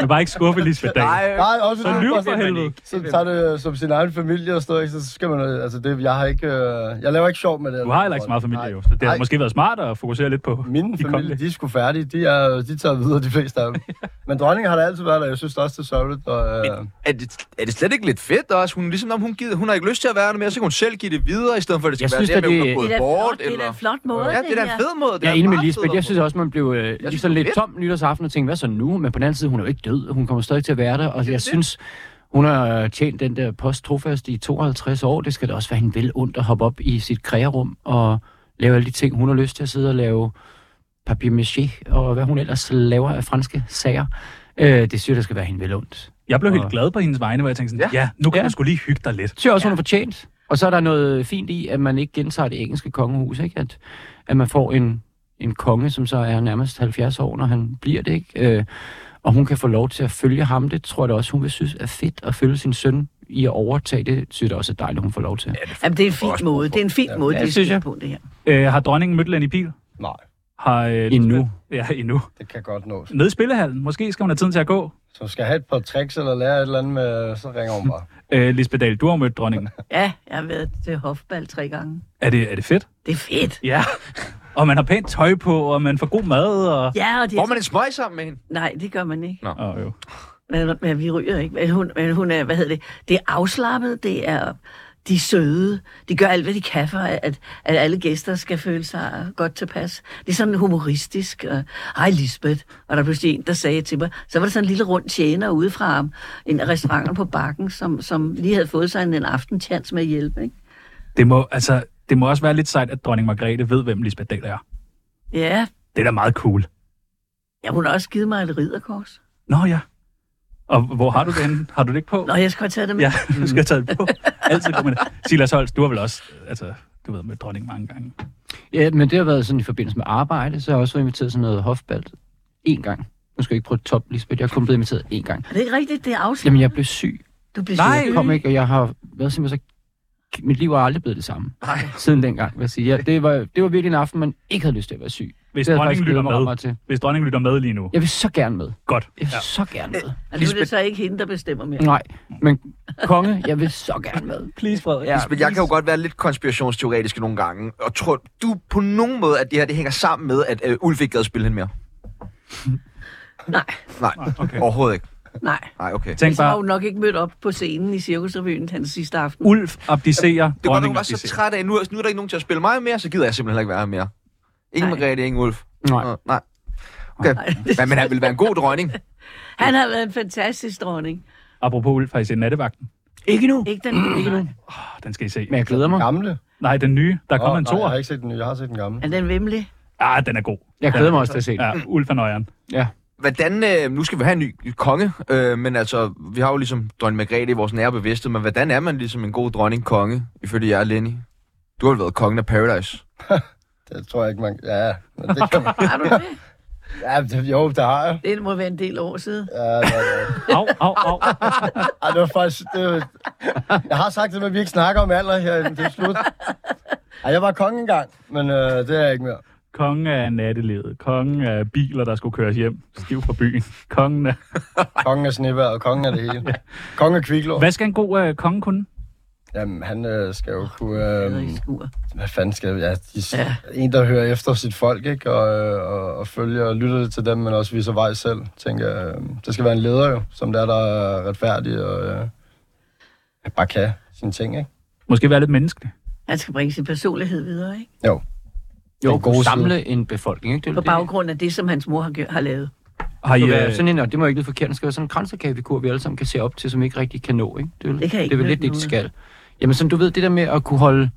Speaker 2: Men bare ikke skuffe Lisbeth Dahl.
Speaker 3: Nej, også
Speaker 2: Så lyv for
Speaker 3: også-
Speaker 2: helvede.
Speaker 3: så tager det som sin egen familie og sådan noget, ikke? så skal man, øh, altså det, jeg har ikke, øh, jeg laver ikke sjov med det.
Speaker 2: Du har heller ikke så meget familie, jo. Så det har
Speaker 3: Nej.
Speaker 2: måske været smart at fokusere lidt på
Speaker 3: Mine
Speaker 2: de
Speaker 3: familie,
Speaker 2: kommende.
Speaker 3: de er sgu færdige. De er de tager videre, de fleste af dem. Men dronningen har da altid været der. Jeg synes det også, det er sørgeligt. Og, øh,
Speaker 1: Er det, er det slet ikke lidt fedt også? Hun, ligesom om hun, gider, hun har ikke lyst til at være der mere, så kan hun selv give det videre, i stedet for at det skal
Speaker 4: Jeg
Speaker 1: være det,
Speaker 4: synes, at
Speaker 1: med, hun
Speaker 4: det-
Speaker 1: har
Speaker 5: Det
Speaker 1: gået
Speaker 5: er da
Speaker 1: bort.
Speaker 5: flot, det er da
Speaker 1: eller...
Speaker 5: en flot måde.
Speaker 1: Ja, det er da
Speaker 5: her.
Speaker 1: en fed måde. Det
Speaker 4: Jeg er
Speaker 1: en
Speaker 4: enig med
Speaker 1: meget
Speaker 4: Lisbeth.
Speaker 1: federe
Speaker 4: Jeg synes også, man blev øh,
Speaker 1: synes,
Speaker 4: lige sådan
Speaker 1: det er
Speaker 4: lidt
Speaker 1: fedt.
Speaker 4: tom nytårsaften og tænkte, hvad så nu? Men på den anden side, hun er jo ikke død. Hun kommer stadig til at være der. Og jeg synes, hun har øh, tjent den der post trofast i 52 år. Det skal da også være hende vel ondt at hoppe op i sit krægerum og lave alle de ting, hun har lyst til at sidde og lave papier-maché og hvad hun ellers laver af franske sager. Øh, det synes jeg, der skal være hende vel ondt.
Speaker 2: Jeg blev helt
Speaker 4: Og-
Speaker 2: glad på hendes vegne, hvor jeg tænkte sådan, ja, ja nu kan
Speaker 4: Ja.
Speaker 2: du sgu lige hygge dig lidt.
Speaker 4: Det synes jeg også, hun har fortjent. Og så er der noget fint i, at man ikke gentager det engelske kongehus, ikke? At, at man får en, en konge, som så er nærmest 70 år, når han bliver det, ikke? Øh, og hun kan få lov til at følge ham. Det tror jeg da også, hun vil synes er fedt at følge sin søn i i at overtage det, synes jeg da også er dejligt, at hun får lov til.
Speaker 5: Jamen, det er en fin
Speaker 1: Også-
Speaker 5: måde. Det er en fin måde,
Speaker 4: Ja,
Speaker 5: det er
Speaker 4: det synes jeg.
Speaker 5: skidt på, det her.
Speaker 2: Øh, har dronningen mødt Lenny Pil?
Speaker 3: Nej,
Speaker 2: Har, øh,
Speaker 4: Endnu.
Speaker 2: Ja, endnu.
Speaker 3: det kan godt nås.
Speaker 2: Nede i spillehallen. Måske skal hun have tiden til at gå.
Speaker 3: Så skal jeg have et par tricks eller lære et eller andet med, så ringer hun bare.
Speaker 2: Øh, Lisbeth Dahl, du har mødt dronningen.
Speaker 5: Ja, jeg har været til hofbal tre gange.
Speaker 2: Er det, er det fedt?
Speaker 5: Det er fedt.
Speaker 2: Ja. Og man har pænt tøj på, og man får god mad, og...
Speaker 5: Ja, og det
Speaker 1: Får
Speaker 5: er...
Speaker 1: man en smøg sammen med hende?
Speaker 5: Nej, det gør man ikke.
Speaker 2: Åh, jo.
Speaker 5: Men, men vi ryger ikke. Men hun, men hun er, hvad hedder det, det er afslappet, det er, de er søde, de gør alt, hvad de kan for, at, at alle gæster skal føle sig godt tilpas. Det er sådan humoristisk. og, Hej Lisbeth, og der var pludselig en, der sagde til mig, så var der sådan en lille rund tjener ude fra ham, en af restauranterne på bakken, som, som lige havde fået sig en, en aftenchance med at hjælpe. Ikke?
Speaker 2: Det må, altså, det må også være lidt sejt, at dronning Margrethe ved, hvem Lisbeth Dahl er.
Speaker 5: Ja,
Speaker 2: Det er da meget cool.
Speaker 5: ja, hun har også givet mig et ridderkors.
Speaker 2: Nå ja. Og hvor har du det henne? Har du det ikke på?
Speaker 5: Nå, jeg skal godt tage det med.
Speaker 2: Ja, du skal have taget det på. Altid god med det. Silas Holst, du har vel også, altså, du ved, med dronning mange gange.
Speaker 4: Ja, men det har været sådan i forbindelse med arbejde, så har jeg også været inviteret til noget hofbalt en gang. Nu skal jeg ikke prøve top, Lisbeth. Jeg er kun blevet inviteret en gang.
Speaker 5: Er det ikke rigtigt, det er afslappet?
Speaker 4: Jamen, jeg blev syg.
Speaker 5: Du bliver
Speaker 2: Nej.
Speaker 5: syg.
Speaker 4: Jeg kom ikke, og jeg har været simpelthen så... Mit liv er aldrig blevet det samme. Nej. Siden dengang, vil jeg sige. Ja, det, var, det var virkelig en aften, man ikke havde lyst til at være syg.
Speaker 2: Hvis
Speaker 4: det havde jeg
Speaker 2: dronningen
Speaker 4: faktisk
Speaker 2: lytter
Speaker 4: glædet mig ret
Speaker 2: med.
Speaker 4: meget til.
Speaker 2: Hvis dronningen lytter med lige nu.
Speaker 4: Jeg vil så gerne med.
Speaker 2: Godt.
Speaker 4: Jeg vil
Speaker 2: Ja.
Speaker 4: ja. så gerne med.
Speaker 5: Og nu er
Speaker 1: Lisbeth-
Speaker 5: det så ikke hende, der bestemmer mere.
Speaker 4: Nej, men konge, jeg vil så gerne med.
Speaker 2: Please, Frederik.
Speaker 1: Ja, men jeg kan jo godt være lidt konspirationsteoretisk nogle gange, og tror du på nogen måde, at det her det hænger sammen med, at øh, Ulf ikke gad spille hende mere?
Speaker 5: Nej,
Speaker 1: Nej,
Speaker 2: okay.
Speaker 1: okay. overhovedet ikke.
Speaker 5: nej.
Speaker 1: Nej, okay.
Speaker 2: Tænk
Speaker 5: Så var
Speaker 2: bare,
Speaker 5: hun nok ikke mødt op på scenen i Cirkusrevyen hans sidste
Speaker 4: Mm.
Speaker 5: aften.
Speaker 2: Ulf abdicerer,
Speaker 1: Det var, at hun
Speaker 2: dronningen
Speaker 1: var så
Speaker 2: abdicerer.
Speaker 1: træt af, nu, nu er der ikke nogen til at spille mig mere, så gider jeg simpelthen heller ikke være her mere. Ingen
Speaker 5: Nej.
Speaker 1: Margrethe, ingen Ulf.
Speaker 4: Nej.
Speaker 1: Nå, nej. Okay. Men, men han ville være en god dronning.
Speaker 5: Han har været en fantastisk dronning.
Speaker 2: Apropos Ulf, har I set nattevagten?
Speaker 4: Ikke nu.
Speaker 5: Ikke den ikke nu.
Speaker 2: Oh, den skal I se.
Speaker 4: Men jeg glæder mig.
Speaker 3: Gamle?
Speaker 2: Nej, den nye. Der kommer en
Speaker 3: nej, jeg
Speaker 2: toer.
Speaker 3: har ikke set den nye, jeg har set den gamle.
Speaker 5: Er den vemmelig?
Speaker 2: Ah, den er god.
Speaker 4: Jeg glæder mig også til at se det.
Speaker 2: Ja, Ulf er nøjeren.
Speaker 1: Hvordan, øh, nu skal vi have en ny konge, øh, men altså, vi har jo ligesom dronning Margrethe i vores nære bevidsthed, men hvordan er man ligesom en god dronning-konge, ifølge jer, Lenny? Du har vel været kongen af Paradise.
Speaker 3: Det tror jeg ikke, man... Ja, men det kan man...
Speaker 5: Har du det?
Speaker 3: Ja, det, jo, det har jeg.
Speaker 5: Det må være en del år siden.
Speaker 4: Øhm.
Speaker 3: Ja, det, det.
Speaker 2: Au, au, au.
Speaker 3: Ej, det var faktisk... Det var... Jeg har sagt det, men vi ikke snakker om alder her. Det er slut. Ej, jeg var konge engang, men øh, det er jeg ikke mere.
Speaker 2: Kongen af nattelivet. Kongen af biler, der skulle køres hjem. Stiv fra byen. Kongen af...
Speaker 3: Kongen af snevejr og kongen af det hele. Kongen af kviklån.
Speaker 2: Hvad skal en god øh, konge kunne?
Speaker 3: Jamen, han øh, skal jo kunne... Øh,
Speaker 5: i skur.
Speaker 3: hvad fanden skal... Ja, de,
Speaker 5: Ja.
Speaker 3: ja. En, der hører efter sit folk, ikke? Og, øh, og, og følger og lytter til dem, men også viser vej selv. Tænker, øh, det skal være en leder jo, som der, der er retfærdig og øh, bare kan sine ting, ikke?
Speaker 2: Måske være lidt menneskelig.
Speaker 5: Han skal bringe sin personlighed videre, ikke?
Speaker 3: Jo.
Speaker 4: Jo,
Speaker 3: Den gode
Speaker 4: kunne
Speaker 3: side.
Speaker 4: samle en befolkning, ikke? Det er
Speaker 5: På
Speaker 4: det.
Speaker 5: baggrund af det, som hans mor har, gjort, har lavet.
Speaker 2: Har I,
Speaker 4: Det skal være
Speaker 2: øh,
Speaker 4: sådan en, og det må ikke lyde forkert, det skal være sådan en kransekagefigur, vi alle sammen kan se op til, som ikke rigtig kan nå, ikke? Det, er vel-
Speaker 5: Det kan
Speaker 4: det er
Speaker 5: ikke
Speaker 4: vel lidt
Speaker 5: nytte
Speaker 4: det, de skal.
Speaker 5: noget.
Speaker 4: Jamen, som du ved, det der med at kunne holde...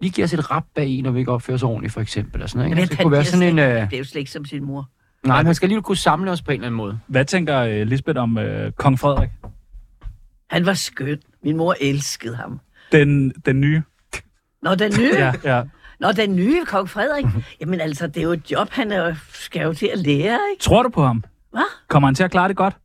Speaker 4: Lige give os et rap bag i, når vi ikke opfører os ordentligt, for eksempel. Og sådan noget, ikke? Altså, det kunne være sådan en... Øh...
Speaker 5: Det er jo slet ikke som sin mor.
Speaker 4: Nej, men han skal alligevel kunne samle os på en eller anden måde.
Speaker 2: hvad tænker øh, Lisbeth om øh, kong Frederik?
Speaker 5: Han var skøn. Min mor elskede ham.
Speaker 2: Den, den nye?
Speaker 5: Nå, den nye,
Speaker 2: Ja, ja.
Speaker 5: Nå, den nye kong Frederik. Jamen altså, det er jo et job, han er, jo- skal jo til at lære, ikke?
Speaker 2: Tror du på ham?
Speaker 5: Hvad?
Speaker 2: Kommer han til at klare det godt?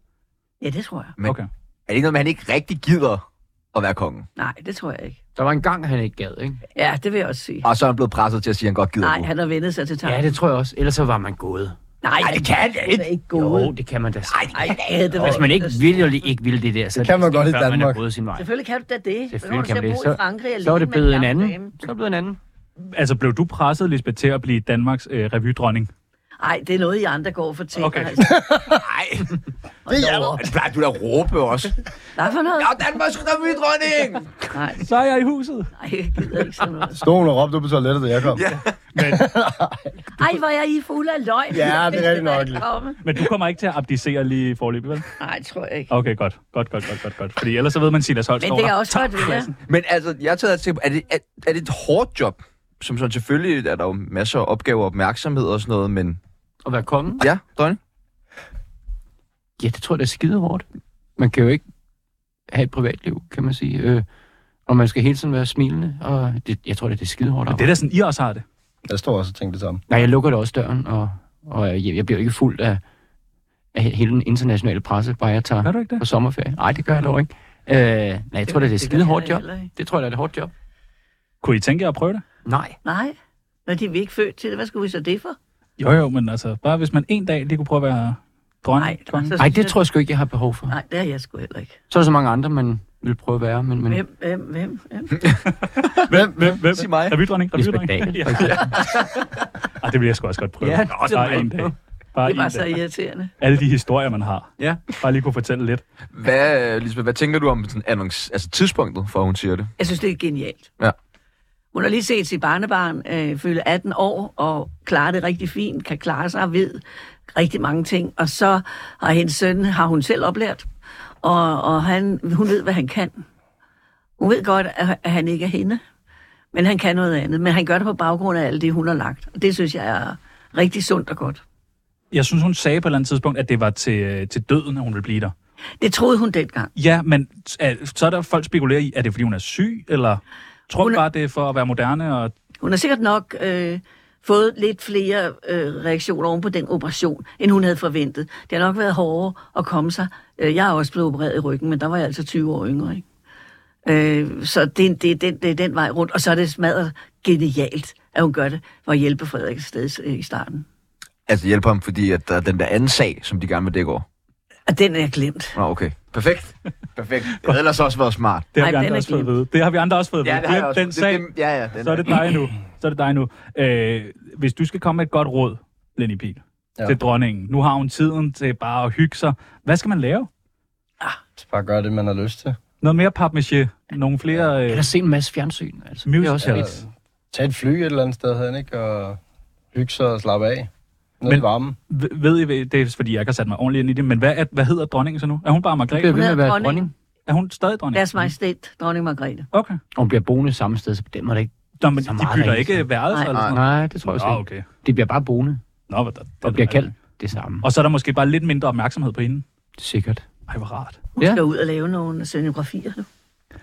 Speaker 5: Ja, det tror jeg.
Speaker 1: Men-
Speaker 2: Okay.
Speaker 1: Er det ikke noget med, at han ikke rigtig gider at være kongen?
Speaker 5: Nej, det tror jeg ikke.
Speaker 4: Der var en gang, han ikke gad, ikke?
Speaker 5: Ja, det vil jeg også sige.
Speaker 1: Og så er han blevet presset til at sige, at han godt gider
Speaker 5: Nej,
Speaker 1: nu.
Speaker 5: han har vendet sig til tanken.
Speaker 4: Ja, det tror jeg også. Ellers så var man gået.
Speaker 5: Nej, det kan jeg ikke. Det er ikke gået.
Speaker 4: Jo, det kan man da sige.
Speaker 5: Nej, det var
Speaker 4: Hvis man ikke vil eller ikke vil det der, så
Speaker 3: Det kan man godt i
Speaker 4: før Man er
Speaker 3: Danmark.
Speaker 4: gået sin vej.
Speaker 5: Selvfølgelig kan du da det.
Speaker 4: Selvfølgelig kan man
Speaker 5: det.
Speaker 4: det.
Speaker 5: Så,
Speaker 4: Så, så er det blevet en anden. Så er det blevet en anden.
Speaker 2: Altså, blev du presset, Lisbeth, til at blive Danmarks øh, revydronning?
Speaker 5: Nej, det er noget, I andre går og fortæller.
Speaker 2: Okay.
Speaker 5: Altså.
Speaker 1: Nej,
Speaker 5: Det er
Speaker 1: det plejer Altså, du da at råbe også.
Speaker 5: Hvad for noget?
Speaker 1: Jeg er Danmarks revydronning!
Speaker 5: Nej,
Speaker 2: Så er jeg i huset.
Speaker 5: nej, jeg gider ikke sådan noget.
Speaker 3: Stolen og råbte på toilettet, da jeg kom. Ja,
Speaker 2: Men,
Speaker 5: Ej, hvor er I fulde af løgn.
Speaker 3: Ja, det er rigtig nok lidt.
Speaker 5: nok.
Speaker 2: men du kommer ikke til at abdicere lige i forløbet, vel?
Speaker 5: Nej, tror jeg ikke.
Speaker 2: Okay, godt. Godt, godt, godt, godt, godt. Fordi ellers så ved man, Silas Holst
Speaker 5: Men
Speaker 2: står
Speaker 5: det er
Speaker 2: der.
Speaker 5: også godt, det er.
Speaker 1: Men altså, jeg tager til, er det, er, er det et hårdt job? Som sådan, selvfølgelig er der jo masser af opgaver og opmærksomhed og sådan noget, men
Speaker 4: At være kongen.
Speaker 1: ja, dronning.
Speaker 4: Ja, det tror jeg, det er skide hårdt. Man kan jo ikke have et privatliv, kan man sige. Øh, og man skal hele tiden være smilende, og det, jeg tror, det er det skide hårdt.
Speaker 2: Det er da sådan, I også har det.
Speaker 3: jeg står også og tænkte det samme.
Speaker 4: Nej, jeg lukker da også døren, og, og jeg, jeg bliver jo ikke fuldt af, af hele den internationale presse, bare jeg tager
Speaker 2: Gør du ikke det?
Speaker 4: på sommerferie. Nej, det gør jeg dog ikke. Øh, nej, jeg tror, det er et
Speaker 5: det
Speaker 4: skide hårdt
Speaker 5: gør
Speaker 4: job.
Speaker 5: jeg heller ikke.
Speaker 4: Det tror jeg, det er et hårdt job.
Speaker 2: Kunne I tænke jer at prøve det?
Speaker 4: Nej.
Speaker 5: Nej, når de er vi ikke født til det. Hvad skulle vi så det for?
Speaker 2: Jo, jo, men altså, bare hvis man en dag lige kunne prøve at være dronning.
Speaker 5: Nej,
Speaker 2: konge.
Speaker 5: altså-
Speaker 4: Nej, det tror jeg sgu ikke, jeg har behov for.
Speaker 5: Nej, det er jeg sgu heller ikke.
Speaker 4: Så er der så mange andre, man vil prøve at være, men... men...
Speaker 5: Hvem, hvem, hvem? hvem?
Speaker 2: Hvem, hvem, hvem?
Speaker 1: Sig mig.
Speaker 2: Revydronning,
Speaker 4: Lisbeth
Speaker 2: revydronning.
Speaker 4: Dahl.
Speaker 2: Ja. Ej, det vil jeg sgu også godt prøve.
Speaker 4: Ja,
Speaker 2: Ja,
Speaker 4: det
Speaker 2: Nå, bare
Speaker 4: må
Speaker 2: en
Speaker 4: du
Speaker 2: dag.
Speaker 4: prøve.
Speaker 2: Bare
Speaker 5: Det var
Speaker 2: en
Speaker 5: så
Speaker 2: dag.
Speaker 5: irriterende.
Speaker 2: Alle de historier, man har.
Speaker 4: Ja.
Speaker 2: Bare lige kunne fortælle lidt.
Speaker 1: Hvad, øh, Lisbeth, hvad tænker du om sådan annonc- altså tidspunktet, for at hun siger det?
Speaker 5: Jeg synes, det er genialt.
Speaker 1: Ja.
Speaker 5: Hun har lige set sit barnebarn øh, fylde 18 år og klare det rigtig fint, kan klare sig og ved rigtig mange ting. Og så har hendes søn, har hun selv oplært, og, og han, hun ved, hvad han kan. Hun ved godt, at, at han ikke er hende, men han kan noget andet. Men han gør det på baggrund af alt det, hun har lagt. Og det synes jeg er rigtig sundt og godt.
Speaker 2: Jeg synes, hun sagde på et eller andet tidspunkt, at det var til, øh, til døden, at hun ville blive der.
Speaker 5: Det troede hun dengang.
Speaker 2: Ja, men er, så er der folk spekulerer i, er det fordi hun er syg, eller tror hun
Speaker 5: Hun er-
Speaker 2: bare, det er for at være moderne? Og,
Speaker 5: Hun har sikkert nok øh, fået lidt flere øh, reaktioner oven på den operation, end hun havde forventet. Det har nok været hårdere at komme sig. Øh, Jeg er også blevet opereret i ryggen, men der var jeg altså 20 år yngre, ikke? Øh, så det, er- det, er den, det er den vej rundt, og så er det smadret genialt, at hun gør det for at hjælpe Frederik sted øh, i starten.
Speaker 1: Altså hjælpe ham, fordi at der er den der anden sag, som de gerne vil dække over.
Speaker 5: Og den er jeg glemt.
Speaker 1: Nå, okay. Perfekt. Perfekt. Det havde ellers også været smart.
Speaker 2: det har
Speaker 5: Ej,
Speaker 2: vi
Speaker 5: den
Speaker 2: andre
Speaker 5: er
Speaker 2: også fået at
Speaker 5: glemt.
Speaker 2: vide. Det har vi andre også fået at vide.
Speaker 1: Ja, det har jeg
Speaker 2: Glem
Speaker 1: også.
Speaker 2: Den sag,
Speaker 1: Det, det, ja, ja, den,
Speaker 2: så er det dig nu. Så er det dig nu. Øh, hvis du skal komme med et godt råd, Lenny Pihl, ja.
Speaker 3: Ja.
Speaker 2: til dronningen. Nu har hun tiden til bare at hygge sig. Hvad skal man lave?
Speaker 3: Så bare gør det, man har lyst til.
Speaker 2: Noget mere papmaché? Nogle flere...
Speaker 4: Jeg
Speaker 2: Øh,
Speaker 4: har set en masse fjernsyn, altså. Det er
Speaker 2: Musical.
Speaker 4: også
Speaker 2: Ja.
Speaker 4: lidt.
Speaker 3: Tag et fly et eller andet sted hen, ikke? Og hygge sig og slappe af. Noget
Speaker 2: Men-
Speaker 3: men... varme.
Speaker 2: ved- ved I, hvad- det er fordi, jeg ikke har sat mig ordentligt ind i det, men hvad, er, hvad hedder dronningen så nu? Er hun bare
Speaker 4: Det
Speaker 2: Margrethe?
Speaker 4: bliver ved med at være
Speaker 5: Hun er dronning.
Speaker 4: dronning.
Speaker 2: Er hun stadig dronning?
Speaker 5: Deres majestæt, dronning Margrethe.
Speaker 2: Okay.
Speaker 4: Og hun bliver boende samme sted, så på den måde er det ikke.
Speaker 2: Nå, men
Speaker 4: Så
Speaker 2: de
Speaker 4: meget
Speaker 2: bytter
Speaker 4: ringe,
Speaker 2: ikke
Speaker 4: så.
Speaker 2: værelse
Speaker 5: Nej.
Speaker 2: eller sådan noget?
Speaker 4: Nej, det tror jeg
Speaker 2: Nå,
Speaker 4: ikke.
Speaker 2: Ah, okay.
Speaker 4: Det bliver bare boende
Speaker 2: Nå, hvad der, det,
Speaker 4: og bliver kaldt det samme.
Speaker 2: Og så er der måske bare lidt mindre opmærksomhed på hende.
Speaker 4: Sikkert.
Speaker 2: Ej, hvor rart.
Speaker 5: Hun
Speaker 4: Ja.
Speaker 5: skal ud og lave nogle scenografier nu.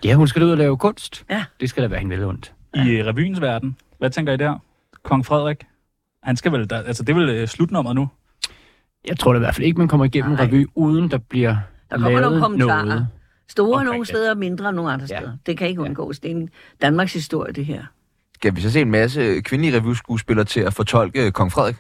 Speaker 4: Ja, hun skal ud og lave kunst.
Speaker 5: Ja.
Speaker 4: Det skal da være hende vel ondt.
Speaker 2: I øh, revyens verden, hvad tænker I der? Kong Frederik? Han skal vel, der, altså det er vel øh, slutnummeret nu.
Speaker 4: Jeg tror da i hvert fald ikke, man kommer igennem en
Speaker 5: Nej.
Speaker 4: revy, uden der bliver
Speaker 5: Der kommer nogle
Speaker 4: lavet
Speaker 5: kommentarer.
Speaker 4: noget.
Speaker 5: Store
Speaker 4: Omkring
Speaker 5: nogle
Speaker 4: det.
Speaker 5: steder, mindre nogle andre
Speaker 4: Ja.
Speaker 5: steder. Det kan ikke undgås. Det er en Danmarks historie, det her.
Speaker 1: Skal vi så se en masse kvindelige revyskuespillere til at fortolke Kong Frederik?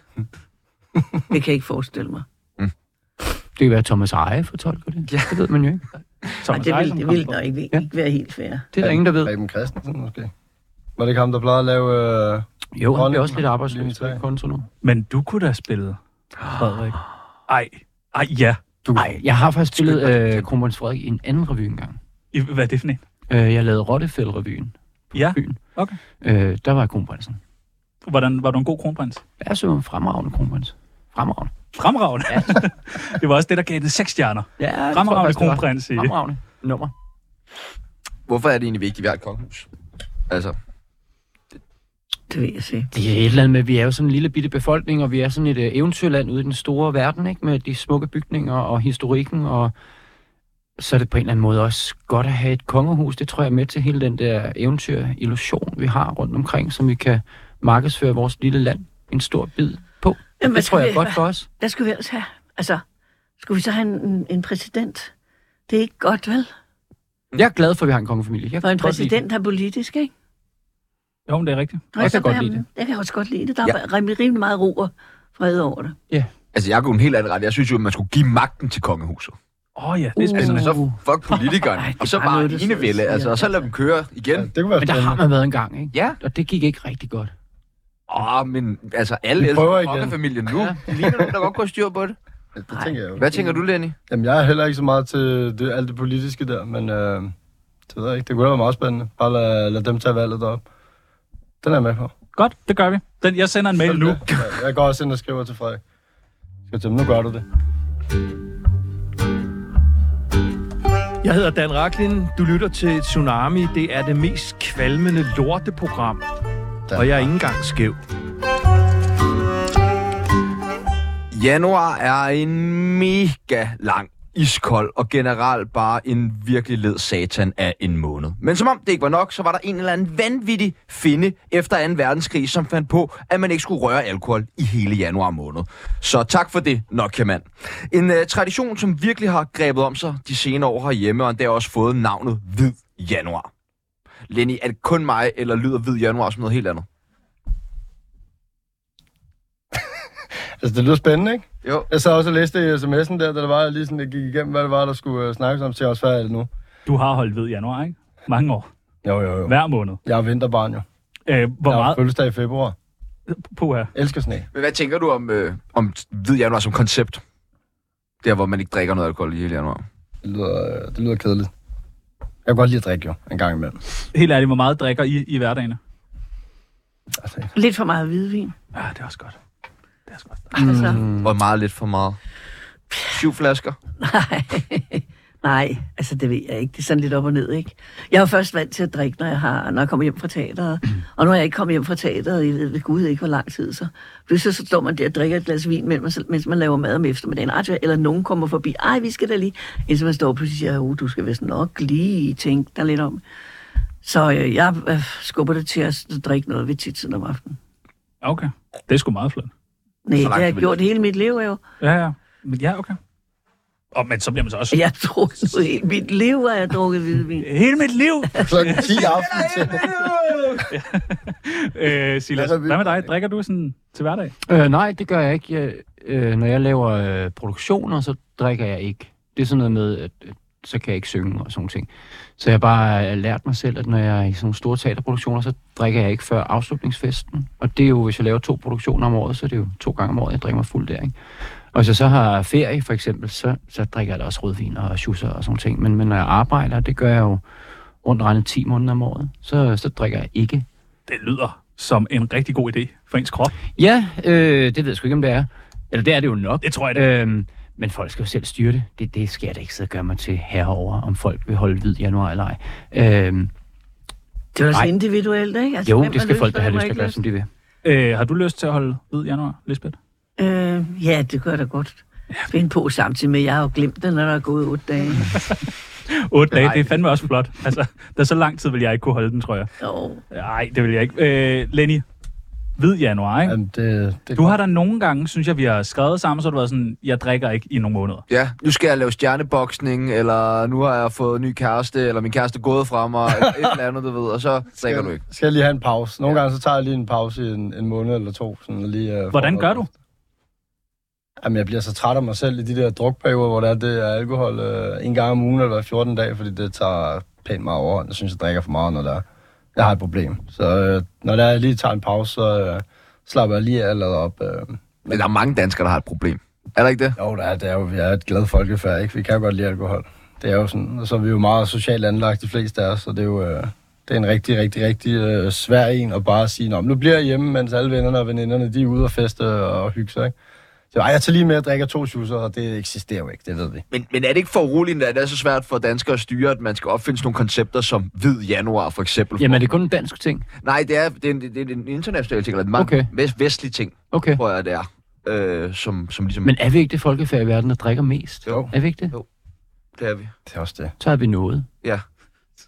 Speaker 5: Det kan jeg ikke forestille mig.
Speaker 4: Det kan være, at Thomas Eje fortolker det. Ja. Det ved man jo ikke.
Speaker 5: Og
Speaker 2: Thomas
Speaker 5: det
Speaker 2: Eje
Speaker 5: vil,
Speaker 2: som
Speaker 5: det
Speaker 2: Kong
Speaker 5: vil nok
Speaker 2: Frederik.
Speaker 5: ikke,
Speaker 4: Ja.
Speaker 5: ikke være helt fair.
Speaker 4: Det er der ingen, der ved.
Speaker 3: Preben Christensen måske. Var det ikke ham, der plejede at lave... Øh...
Speaker 4: Jo, han
Speaker 3: Dronning.
Speaker 4: bliver også lidt
Speaker 3: Lige
Speaker 4: arbejdsløs på
Speaker 3: tre.
Speaker 4: den konto nu.
Speaker 2: Men du kunne da spille Frederik. Ej, ej ja.
Speaker 4: Nej, jeg har faktisk spillet øh, Kronprins Frederik i en anden revy engang.
Speaker 2: I, hvad er det for en?
Speaker 4: Øh, jeg lavede Rottefæld-revyen på
Speaker 2: Ja,
Speaker 4: Fyn.
Speaker 2: okay.
Speaker 4: Øh, der var jeg kronprinsen.
Speaker 2: Hvordan, var du en god kronprins?
Speaker 4: Jeg så en fremragende kronprins. Fremragende.
Speaker 2: Fremragende. Ja. det var også det, der gav det seks stjerner.
Speaker 4: Ja, det tror jeg
Speaker 2: Fremragende
Speaker 4: faktisk, det var.
Speaker 2: kronprins i det.
Speaker 4: Fremragende nummer.
Speaker 1: Hvorfor er det egentlig vigtigt, at vi har et kongehus? Altså,
Speaker 5: Det vil jeg sige.
Speaker 4: Det er et eller andet med, at vi er jo sådan en lille bitte befolkning, og vi er sådan et øh, eventyrland ude i den store verden, ikke? Med de smukke bygninger og historikken, og så er det på en eller anden måde også godt at have et kongehus. Det tror jeg er med til hele den der eventyr-illusion, vi har rundt omkring, som vi kan markedsføre vores lille land en stor bid på.
Speaker 5: Jamen,
Speaker 4: det tror jeg er
Speaker 5: det-
Speaker 4: godt for os.
Speaker 5: Hvad skulle vi ellers have? Altså, skulle vi så have en- en, en præsident? Det er ikke godt, vel?
Speaker 4: Jeg er glad for, at vi har en kongefamilie. Jeg
Speaker 5: For
Speaker 4: kan
Speaker 5: en
Speaker 4: godt lide
Speaker 5: præsident er politisk, ikke?
Speaker 2: Jo, men det er rigtigt.
Speaker 5: Og
Speaker 4: Jeg kan
Speaker 5: så
Speaker 4: godt
Speaker 5: er-
Speaker 4: lide det.
Speaker 5: Jeg kan også godt lide det. Der er ja. rimelig meget ro og fred over det.
Speaker 1: altså jeg går en helt anden ret. Jeg synes jo, at man skulle give magten til kongehuset.
Speaker 2: Åh oh, ja,
Speaker 4: Uh.
Speaker 2: det er
Speaker 1: Altså,
Speaker 2: spændende.
Speaker 1: så fuck politikerne.
Speaker 5: Uh. Ej, det er
Speaker 1: og så
Speaker 5: bare
Speaker 1: bare
Speaker 5: noget, det sidder og
Speaker 1: enevælde,
Speaker 5: siger.
Speaker 1: altså, og så lad dem køre igen.
Speaker 3: Ja, det kunne være
Speaker 4: Men der har
Speaker 3: spændende.
Speaker 4: man været en gang, ikke?
Speaker 1: Ja.
Speaker 4: Og det gik ikke rigtig godt.
Speaker 1: Åh, oh, men altså alle
Speaker 3: Vi prøver
Speaker 1: ældre
Speaker 3: igen.
Speaker 1: kongefamilien nu. Ja. Ligner nogen, der godt kunne have styr på det.
Speaker 3: Ja, det tænker jeg jo.
Speaker 1: Hvad tænker du, Lenny?
Speaker 3: Jamen, jeg er heller ikke så meget til det, alt det politiske der, men øh, det ved jeg ikke. Det kunne da være meget spændende. Bare lad, lad dem tage valget derop. Den er jeg med på.
Speaker 2: Godt, det gør vi. Den, jeg sender en mail nu.
Speaker 3: Ja, jeg går også ind og skriver til Frederik. Skal til ham, nu gør du det.
Speaker 9: Jeg hedder Dan Raklin. Du lytter til Tsunami. Det er det mest kvalmende lorteprogram.
Speaker 3: Dan
Speaker 9: Og jeg er ikke engang skæv.
Speaker 1: Januar er en mega lang iskold og generelt bare en virkelig led satan af en måned. Men som om det ikke var nok, så var der en eller anden vanvittig finde efter 2. verdenskrig, som fandt på, at man ikke skulle røre alkohol i hele januar måned. Så tak for det, Nokia mand. En øh, tradition, som virkelig har grebet om sig de senere år herhjemme, og endda også fået navnet Hvid Januar. Lenny, er det kun mig, eller lyder Hvid Januar som noget helt andet?
Speaker 3: Altså, det lyder spændende, ikke?
Speaker 1: Jo.
Speaker 3: Jeg sad også og læste i sms'en der, da det var, jeg lige sådan, jeg gik igennem, hvad det var, der skulle øh, snakkes om til os. Hvad er det nu?
Speaker 2: Du har holdt ved januar, ikke? Mange år.
Speaker 3: Jo, jo, jo.
Speaker 2: Hver måned.
Speaker 3: Jeg er vinterbarn, jo.
Speaker 2: Øh, hvor
Speaker 3: jeg har
Speaker 2: meget...
Speaker 3: fødselsdag i februar.
Speaker 2: På her.
Speaker 3: Elsker sne.
Speaker 1: Men hvad tænker du om, øh, om Hvid Januar som koncept? Der, hvor man ikke drikker noget alkohol i hele januar.
Speaker 3: Det lyder, øh, det lyder kedeligt. Jeg kan godt lide at drikke, jo. En gang imellem.
Speaker 2: Helt ærligt, hvor meget drikker I i hverdagen?
Speaker 3: Altså,
Speaker 5: Lidt for meget hvidvin.
Speaker 2: Ja, det er også godt. Det er også godt.
Speaker 5: Altså,
Speaker 1: Mm. Hvor meget lidt for meget? Syv flasker.
Speaker 5: nej. Nej, altså det ved jeg ikke. Det er sådan lidt op og ned, ikke? Jeg er jo først vant til at drikke, når jeg, har, når jeg kommer hjem fra teateret. Og nu er jeg ikke kommet hjem fra teateret i ved gud ikke hvor lang tid, så pludselig så står man der og drikker et glas vin, mens man, mens man laver mad om eftermiddagen. Ej, Eller nogen kommer forbi. Ej, vi skal da lige... Indtil man står og pludselig siger, oh, du skal vist nok lige tænke dig lidt om. Så øh, jeg øh, skubber det til at drikke noget ved tiden om aftenen.
Speaker 2: Okay. Det er sgu meget flot.
Speaker 5: Nej, det
Speaker 1: langt
Speaker 5: har jeg
Speaker 1: vil-
Speaker 5: gjort hele mit liv jo.
Speaker 2: Ja, ja. Men ja, okay. Og, men så bliver man så også...
Speaker 5: Jeg har drukket nu hele mit liv, har jeg drukket hvidvin.
Speaker 2: Hele mit liv!
Speaker 3: klokken 10 aften til.
Speaker 2: øh, Silas,
Speaker 3: Hvad er Altså, vi-
Speaker 2: hvad med dig? Drikker du sådan til hverdag?
Speaker 4: Øh, nej, det gør jeg ikke. Jeg, øh, når jeg laver øh, produktioner, så drikker jeg ikke. Det er sådan noget med, at, at så kan jeg ikke synge og sådan nogle ting. Så jeg har bare øh, lært mig selv, at når jeg er i sådan nogle store teaterproduktioner, så drikker jeg ikke før afslutningsfesten. Og det er jo, hvis jeg laver to produktioner om året, så er det jo to gange om året, jeg drikker mig fuld der, ikke? Og hvis jeg så har ferie, for eksempel, så, så drikker jeg da også rødvin og schusser og sådan nogle ting. Men, men når jeg arbejder, det gør jeg jo rundt regnet 10 måneder om året, så, så drikker jeg ikke
Speaker 2: Det lyder som en rigtig god idé for ens krop.
Speaker 4: Ja, øh, det ved jeg sgu ikke, om det er. Eller det er det jo nok.
Speaker 2: Det tror jeg, det
Speaker 4: Øhm, men folk skal jo selv styre det. det. Det skal jeg da ikke sidde og gøre mig til herover, om folk vil holde hvid januar eller ej. Øhm,
Speaker 5: Det er også
Speaker 4: Nej.
Speaker 5: individuelt, ikke? Altså,
Speaker 4: jo,
Speaker 5: hvem
Speaker 4: det
Speaker 5: har
Speaker 4: skal folk da
Speaker 5: og
Speaker 4: have
Speaker 5: hvem
Speaker 4: lyst til at
Speaker 5: har
Speaker 4: gøre, som de vil.
Speaker 2: Øh, har du lyst til at holde hvid januar, Lisbeth?
Speaker 5: ikke lyst? Øh, ja, det gør jeg da godt. Finde på samtidig med, at jeg har jo glemt det, når der er gået otte
Speaker 4: Mm.
Speaker 5: dage.
Speaker 2: 8 dage, det er fandme også flot. Altså, der er så lang tid, vil jeg ikke kunne holde den, tror jeg.
Speaker 5: Jo.
Speaker 2: Nej, det vil jeg ikke. Øh, Lenny, hvid januar, ikke?
Speaker 3: Jamen, det, det
Speaker 2: Du har da nogle gange, synes jeg, vi har skrevet sammen, så har du været sådan, jeg drikker ikke i nogle måneder.
Speaker 1: Ja, nu skal jeg lave stjerneboksning, eller nu har jeg fået ny kæreste, eller min kæreste er gået fra mig, eller et eller andet, du ved, og så drikker du ikke.
Speaker 3: Skal jeg lige have en pause? Nogle gange så tager jeg lige en pause i en, en måned eller to. Sådan lige, uh,
Speaker 2: Hvordan gør du?
Speaker 3: Jamen, jeg bliver så træt af mig selv i de der drukperioder, hvor det er, det er alkohol øh, en gang om ugen eller hver 14 dage, fordi det tager pænt meget over. Jeg synes, jeg drikker for meget, når der jeg har et problem. Så øh, når der jeg lige tager en pause, så øh, slapper jeg lige allerede op. Øh.
Speaker 1: Men der er mange danskere, der har et problem. Er der ikke det?
Speaker 3: Jo, der er, det er jo, vi er et glad folkefærd, ikke? Vi kan jo godt lide alkohol. Det er jo sådan, og så er vi jo meget socialt anlagt, de fleste af os, så det er jo... Øh, det er en rigtig, rigtig, rigtig øh, svær en at bare sige, "Nå, men nu bliver jeg hjemme, mens alle vennerne og veninderne, de er ude og feste og hygge sig, ikke? Så ej, jeg tager lige med at drikke to schusser, og det eksisterer jo ikke, det ved vi.
Speaker 1: Men, men er det ikke for uroligende, at det er så svært for danskere at styre, at man skal opfinde sådan nogle koncepter som hvid januar, for eksempel?
Speaker 4: Jamen, er det kun en dansk ting?
Speaker 1: Nej, det er, det er, en, det er en international ting, eller en
Speaker 4: Okay.
Speaker 1: okay. vest, vestlig ting,
Speaker 4: Okay.
Speaker 1: tror jeg, det er. Øh, som, som ligesom...
Speaker 4: Men er vi ikke det folkefærd i verden, der drikker mest?
Speaker 1: Jo.
Speaker 4: Er vi ikke det?
Speaker 1: Jo. Det er vi.
Speaker 3: Det er også det.
Speaker 4: Så har vi noget.
Speaker 1: Ja.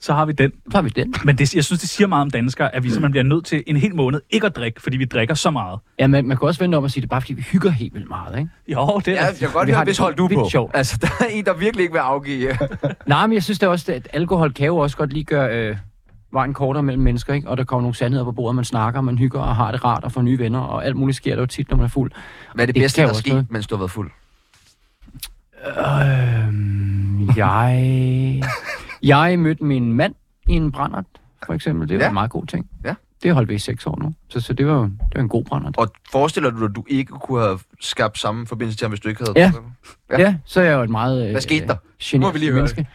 Speaker 2: Så har vi den.
Speaker 4: Så har vi den.
Speaker 2: Men det, jeg synes, det siger meget om danskere, at vi simpelthen bliver nødt til en hel måned ikke at drikke, fordi vi drikker så meget.
Speaker 4: Ja, man, man kan også vende om og sige, det er bare fordi, vi hygger helt vildt meget, ikke?
Speaker 2: Jo,
Speaker 1: Ja,
Speaker 2: det er
Speaker 1: jeg
Speaker 2: rigtigt.
Speaker 1: kan godt
Speaker 4: Vi
Speaker 1: høre,
Speaker 4: har det
Speaker 1: hvis hold du
Speaker 4: vildt
Speaker 1: på.
Speaker 4: sjovt.
Speaker 1: Altså, der er en, der virkelig ikke vil afgive. øh,
Speaker 4: Nej, men jeg synes da også, at alkohol kan jo også godt lige gøre øh, vejen kortere mellem mennesker, ikke? og der kommer nogle sandheder på bordet, man snakker, man hygger og har det rart og får nye venner, og alt muligt sker der jo tit, når man er fuld.
Speaker 1: Hvad er det,
Speaker 4: Det
Speaker 1: det bedste, der
Speaker 4: kan jo
Speaker 1: er
Speaker 4: også noget.
Speaker 1: sket, mens du har været fuld?
Speaker 4: Øhm, jeg... jeg mødte min mand i en brændert, for eksempel. Det var
Speaker 1: Ja.
Speaker 4: ja. en meget god ting.
Speaker 1: Ja.
Speaker 4: Det holdt vi i seks år nu, så, så det, var, jo- det var en god brændert.
Speaker 1: Og forestiller du dig, at du ikke kunne have skabt samme forbindelse til ham, hvis du ikke havde...
Speaker 4: Ja.
Speaker 1: Ja.
Speaker 4: Ja. ja, så er jeg jo et meget... Øh,
Speaker 1: Hvad skete der? Nu
Speaker 4: Øh, må
Speaker 1: må vi lige høre
Speaker 4: menneske.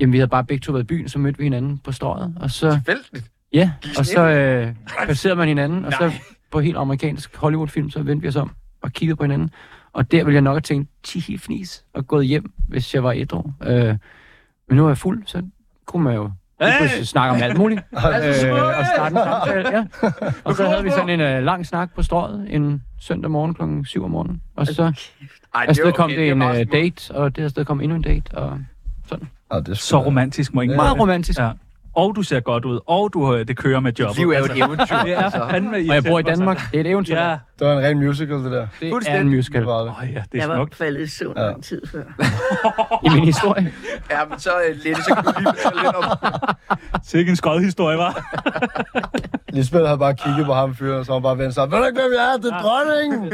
Speaker 4: Jamen, vi havde bare begge to været i byen, så mødte vi hinanden på strøget, og så...
Speaker 1: Vældigt.
Speaker 4: Ja, og så øh, passerede man hinanden, og så på helt amerikansk Hollywood-film, så vendte vi os om og kiggede på hinanden. Og der ville jeg nok have tænkt, tihi fnis, og gået hjem, hvis jeg var ædru. Øh, men nu er jeg fuld, så kunne man jo Vi kunne snakke om alt muligt.
Speaker 1: Altså,
Speaker 4: øh, og starte en samtale, ja. Og så havde vi sådan en øh, lang snak på strøget en søndag morgen klokken 7 om morgenen. Og så
Speaker 1: Altså, Ej,
Speaker 4: afsted kom
Speaker 1: okay,
Speaker 4: det en
Speaker 1: er
Speaker 4: øh,
Speaker 1: meget smukt.
Speaker 4: date, og det afsted kom endnu en date. Og
Speaker 3: Ah, det er
Speaker 2: Så romantisk må ikke
Speaker 4: meget romantisk.
Speaker 2: Ja. Og du ser godt ud, og du øh, det kører med jobbet.
Speaker 1: Liv er jo et eventyr.
Speaker 2: Det er
Speaker 1: altså.
Speaker 2: fandme
Speaker 4: Og jeg bor i
Speaker 2: irriterende. altså.
Speaker 4: Danmark. Det er et eventyr.
Speaker 2: Ja.
Speaker 3: Det var en ren musical, det der.
Speaker 4: Det er en
Speaker 1: Fuldstændig.
Speaker 4: musical.
Speaker 3: Det var det.
Speaker 2: Åh oh, ja, det
Speaker 5: Jeg
Speaker 2: er
Speaker 5: var
Speaker 2: smukt.
Speaker 5: faldet i søvn
Speaker 3: Ja.
Speaker 5: ja. en tid før.
Speaker 4: I min historie.
Speaker 1: Ja, men så øh, Lette, så kan du lige fortælle lidt om...
Speaker 2: Sikke en skodhistorie, var.
Speaker 3: Lisbeth havde bare kigget på ham fyren, og så var hun bare vendt sig. Ved du ikke, hvem jeg er?
Speaker 2: Ah.
Speaker 3: Det er dronningen!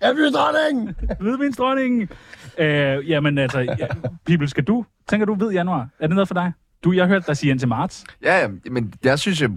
Speaker 3: Jeg er blevet dronningen!
Speaker 2: Hvidvinsdronningen. Øh, jamen altså, ja, Pibel, skal du? Tænker du ved januar? Er det noget for dig? Du, jeg hørte dig sige indtil marts.
Speaker 1: Ja, ja, men jeg synes, jeg,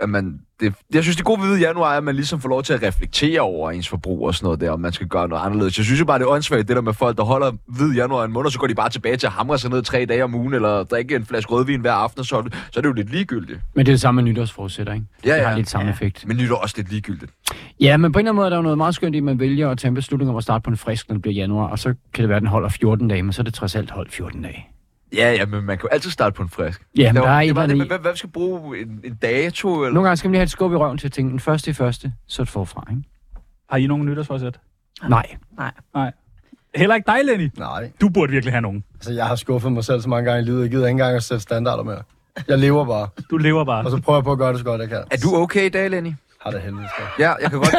Speaker 1: at man... Det, jeg synes, det gode ved januar er, at man ligesom får lov til at reflektere over ens forbrug og sådan noget der, om man skal gøre noget anderledes. Jeg synes jo bare, det er åndssvagt, det der med folk, der holder ved januar en måned, og så går de bare tilbage til at hamre sig ned tre dage om ugen, eller drikke en flaske rødvin hver aften, så, er det- så er det jo lidt ligegyldigt.
Speaker 4: Men det er det samme med nytårsforsætter, ikke?
Speaker 1: Ja,
Speaker 4: Det har
Speaker 1: ja.
Speaker 4: lidt samme
Speaker 2: Ja.
Speaker 4: effekt.
Speaker 1: Men lytter også lidt ligegyldigt.
Speaker 4: Ja, men på en eller anden måde er der jo noget meget skønt i, at man vælger at tage en beslutning om at starte på en frisk, når det bliver januar, og så kan det være, at den holder 14 dage, men så er det trods alt holdt 14 dage.
Speaker 1: Ja, ja, men man kan jo altid starte på en frisk.
Speaker 4: Ja, men
Speaker 1: Det var-
Speaker 4: der er et
Speaker 1: det var det,
Speaker 4: eller andet
Speaker 1: men
Speaker 4: i-
Speaker 1: hvem, hvem skal bruge en, en dato? Eller?
Speaker 4: Nogle gange skal man lige have et skub i røven til at tænke, den første i første, så er det forfra, ikke?
Speaker 2: Har I nogen nytårsforsæt?
Speaker 4: Nej.
Speaker 2: Heller ikke dig, Lenny.
Speaker 3: Nej,
Speaker 2: Du burde virkelig have nogen.
Speaker 3: altså jeg har skuffet mig selv så mange gange i livet. Jeg gider ikke engang at sætte standarder mere. Jeg lever bare,
Speaker 2: Du lever bare.
Speaker 3: og så prøver jeg på at gøre det så godt, jeg kan.
Speaker 1: Er du okay i dag, Lenny?
Speaker 3: Har det helvede skal.
Speaker 1: Ja, jeg kan godt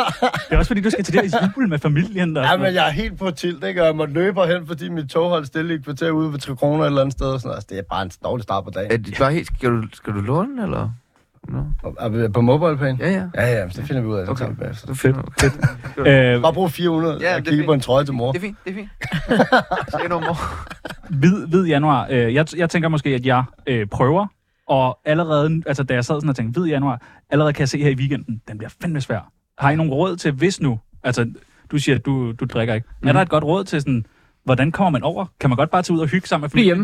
Speaker 2: Det er også fordi, du skal til det her jul med familien. Og
Speaker 3: Ja,
Speaker 2: sådan
Speaker 3: men
Speaker 2: noget.
Speaker 3: jeg er helt på tilt, ikke? Og jeg måtte løbe hen, fordi mit tog holdt stille i et kvarter ude ved 3 kroner et eller andet sted. Og sådan noget. Altså, det er bare en dårlig start på dagen.
Speaker 1: Er det bare helt... Skal du, skal du låne, eller?
Speaker 3: Og- Er vi på MobilePay?
Speaker 1: Ja, ja.
Speaker 3: Ja, ja, men så finder vi ud af det.
Speaker 1: Okay.
Speaker 3: Okay. bagefter.
Speaker 1: Du finder, okay.
Speaker 2: Øh,
Speaker 3: Bare brug 400
Speaker 1: Ja,
Speaker 3: ja, og
Speaker 1: det er
Speaker 3: kigge på
Speaker 1: fint.
Speaker 3: en trøje til mor.
Speaker 1: Det er fint, det er fint. Se nu, mor.
Speaker 2: hvid, hvid januar. Øh, jeg, jeg tænker måske, at jeg øh, prøver, og allerede, altså da jeg sad sådan og tænkte, hvid januar, allerede kan jeg se her i weekenden, den bliver fandme svær. Har I nogen råd til, hvis nu, altså du siger, at du, du drikker ikke.
Speaker 4: Mhm.
Speaker 2: Mm. Er der et godt råd til sådan, hvordan kommer man over? Kan man godt bare tage ud og hygge sammen med
Speaker 4: Bliv
Speaker 2: familien?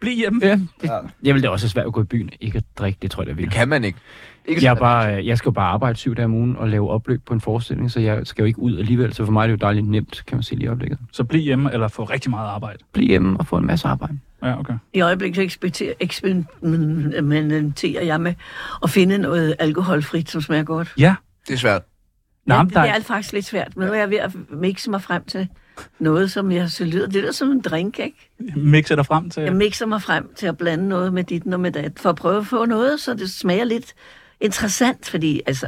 Speaker 4: hjemme.
Speaker 2: Bliv hjemme.
Speaker 4: Ja, det, jeg ville da også være svært at gå i byen, ikke at drikke, det tror jeg, der vil.
Speaker 1: Kan man ikke. ikke
Speaker 4: Jeg, er
Speaker 1: sådan-
Speaker 4: bare, øh, jeg skal jo bare arbejde syv dage om ugen og lave opløb på en forestilling, så jeg skal jo ikke ud alligevel, så for mig er det jo dejligt nemt, kan man sige lige i øjeblikket.
Speaker 2: Så bliv hjemme, eller få rigtig meget arbejde.
Speaker 4: Bliv hjemme og få en masse arbejde.
Speaker 2: Ja, okay.
Speaker 5: I øjeblikket eksperimenterer eksperimenterer jeg med at finde noget alkoholfrit, som smager godt.
Speaker 2: Ja,
Speaker 1: Det er svært.
Speaker 2: Nå,
Speaker 5: Men
Speaker 2: men
Speaker 5: det,
Speaker 2: der
Speaker 5: det
Speaker 2: er,
Speaker 5: er faktisk lidt svært, men nu er jeg ved at mixe mig frem til noget, som jeg så lyder. Det er som en drink, ikke?
Speaker 2: mixer dig frem til.
Speaker 5: Jeg mixer mig frem til at blande noget med dit og med dat, for at prøve at få noget, så det smager lidt interessant, fordi altså,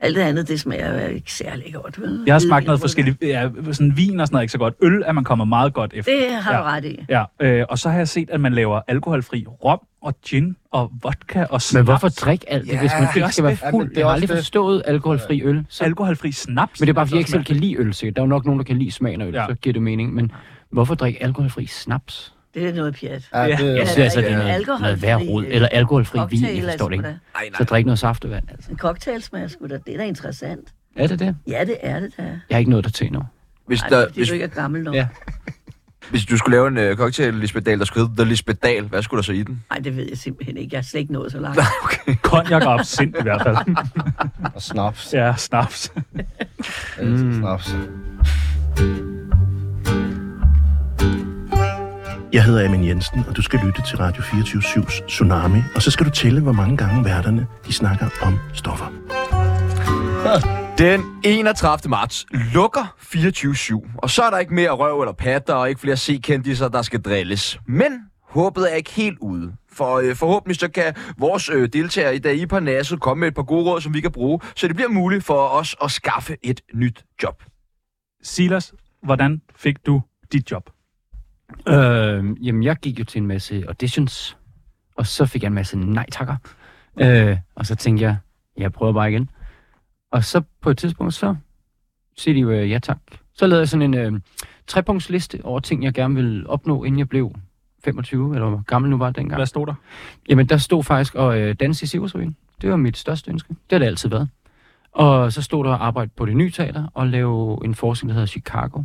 Speaker 5: alt det andet, det smager jo ikke særlig godt. Vel?
Speaker 2: Jeg har smagt noget forskelligt, ja, sådan vin og sådan noget ikke så godt. Øl er man kommet meget godt efter.
Speaker 5: Det har du
Speaker 2: Ja.
Speaker 5: ret i.
Speaker 2: Ja, øh, og så har jeg set, at man laver alkoholfri rom og gin og vodka og snaps.
Speaker 4: Men hvorfor drikke alt det, hvis man
Speaker 1: Ja,
Speaker 4: ikke skal være
Speaker 2: det
Speaker 3: er
Speaker 4: fuld?
Speaker 3: også
Speaker 4: Jeg har aldrig
Speaker 3: det.
Speaker 4: forstået alkoholfri øl. Så
Speaker 2: Alkoholfri snaps.
Speaker 4: Men det er bare, fordi jeg ikke
Speaker 2: Altså,
Speaker 4: selv kan lide øl, sikkert. Der er jo nok nogen, der kan lide smagen af øl,
Speaker 2: Ja.
Speaker 4: ja. så giver det mening. Men hvorfor drikke alkoholfri snaps?
Speaker 5: Det er noget pjat.
Speaker 3: Ja, det,
Speaker 4: Jeg
Speaker 5: Ja,
Speaker 4: synes
Speaker 5: der er
Speaker 4: altså, det
Speaker 5: ikke
Speaker 4: er
Speaker 5: en
Speaker 4: noget, noget
Speaker 5: alkoholfri,
Speaker 4: værd rod.
Speaker 5: øh,
Speaker 4: Eller alkoholfri vin,
Speaker 5: Cocktail,
Speaker 4: jeg
Speaker 5: altså,
Speaker 4: forstår det ikke.
Speaker 5: hvordan-
Speaker 1: Ej, nej.
Speaker 4: Så drik noget saftevand, altså.
Speaker 5: En cocktail smager sgu da. Det er da interessant.
Speaker 4: Er det det?
Speaker 5: Ja, det er det da.
Speaker 4: Jeg har ikke noget der til nu.
Speaker 1: Hvis,
Speaker 5: Ej, det
Speaker 1: der,
Speaker 5: er, fordi
Speaker 1: hvis,
Speaker 5: du ikke er gammel nok.
Speaker 4: Ja.
Speaker 5: Ja.
Speaker 1: hvis du skulle lave en øh, cocktail, Lisbeth Dahl, der skulle hedde The Lisbeth Dahl, hvad skulle der så i den?
Speaker 5: Nej, det ved jeg simpelthen ikke. Jeg har slet ikke nået så langt.
Speaker 2: Konjak og absint i hvert fald.
Speaker 3: og snaps.
Speaker 2: Ja, snaps.
Speaker 3: Jeg elsker
Speaker 1: Mm.
Speaker 3: snaps.
Speaker 10: Jeg hedder Amin Jensen, og du skal lytte til Radio 24-7's Tsunami. Og så skal du tælle, hvor mange gange værterne de snakker om stoffer.
Speaker 1: Den 31. marts lukker 24-7, og så er der ikke mere røv eller patter, og ikke flere C-kendiser, der skal drilles. Men håbet er ikke helt ude. For øh, forhåbentlig så kan vores øh, deltagere i dag i Parnasset komme med et par gode råd, som vi kan bruge, så det bliver muligt for os at skaffe et nyt job.
Speaker 2: Silas, hvordan fik du dit job?
Speaker 4: Øh, jamen, jeg gik jo til en masse auditions, og så fik jeg en masse nej takker. Øh, og så tænkte jeg, jeg prøver bare igen. Og så på et tidspunkt, så siger de jo øh, ja tak. Så lavede jeg sådan en øh, trepunktsliste over ting, jeg gerne ville opnå, inden jeg blev 25, eller hvor gammel nu var jeg dengang.
Speaker 2: Hvad stod der?
Speaker 4: Jamen, der stod faktisk at øh, danse i Siversøen. Det var mit største ønske. Det har det altid været. Og så stod der at arbejde på det nye teater og lave en forskning, der hedder Chicago.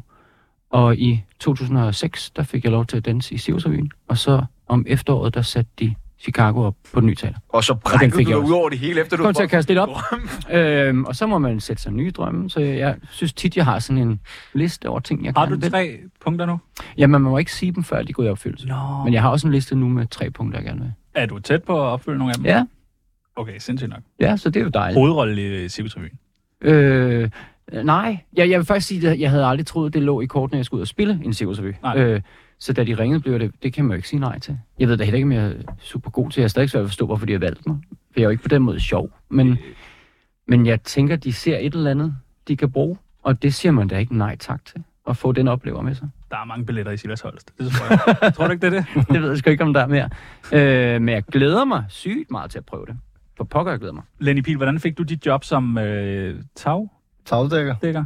Speaker 4: Og i 2006, der fik jeg lov til at danse i Siversøen. Og så om efteråret, der satte de Chicago op på det nye teater.
Speaker 1: Og så
Speaker 4: den
Speaker 1: brækkede
Speaker 4: fik
Speaker 1: du dig
Speaker 4: jeg også.
Speaker 1: ud over det hele, efter du
Speaker 4: Kom til
Speaker 1: havde
Speaker 4: at kaste lidt op.
Speaker 1: fået-
Speaker 4: Øhm, og så må man sætte sig nye drømme. Så jeg, jeg synes tit, jeg har sådan en liste over ting, jeg
Speaker 2: Har
Speaker 4: gerne
Speaker 2: du
Speaker 4: vil.
Speaker 2: tre punkter nu?
Speaker 4: Jamen, man må ikke sige dem, før de går i opfyldelse.
Speaker 2: Nå.
Speaker 4: Men jeg har også en liste nu med tre punkter, jeg gerne vil.
Speaker 2: Er du tæt på at opfylde nogle af dem?
Speaker 4: Ja.
Speaker 2: Okay, sindssygt nok.
Speaker 4: Ja, så det er jo dejligt.
Speaker 2: Hovedrolle i Cirkusrevyen.
Speaker 4: Øh, nej, jeg, jeg vil faktisk sige, at jeg havde aldrig troet, det lå i kortene, at jeg skulle ud og spille en Cirkusrevy.
Speaker 2: Nej.
Speaker 4: Øh, så da de ringede, blev det, det kan man jo ikke sige nej til. Jeg ved da heller ikke, om jeg er super god til. Jeg har stadig svært ved at forstå, hvorfor de har valgt mig. For jeg er jo ikke på den måde sjov.
Speaker 2: Øh.
Speaker 4: Men, men jeg tænker, de ser et eller andet, de kan bruge. Og det siger man da ikke nej tak til. At få den oplever med sig.
Speaker 2: Der er mange billetter i Silas Holst. Det tror jeg. tror du ikke, det er det?
Speaker 4: Det ved jeg sgu ikke, om der er mere. Øh, men jeg glæder mig sygt meget til at prøve det. For pokker, jeg glæder mig.
Speaker 2: Lenny Pihl, hvordan fik du dit job som øh, tagdækker?
Speaker 3: Tagdækker.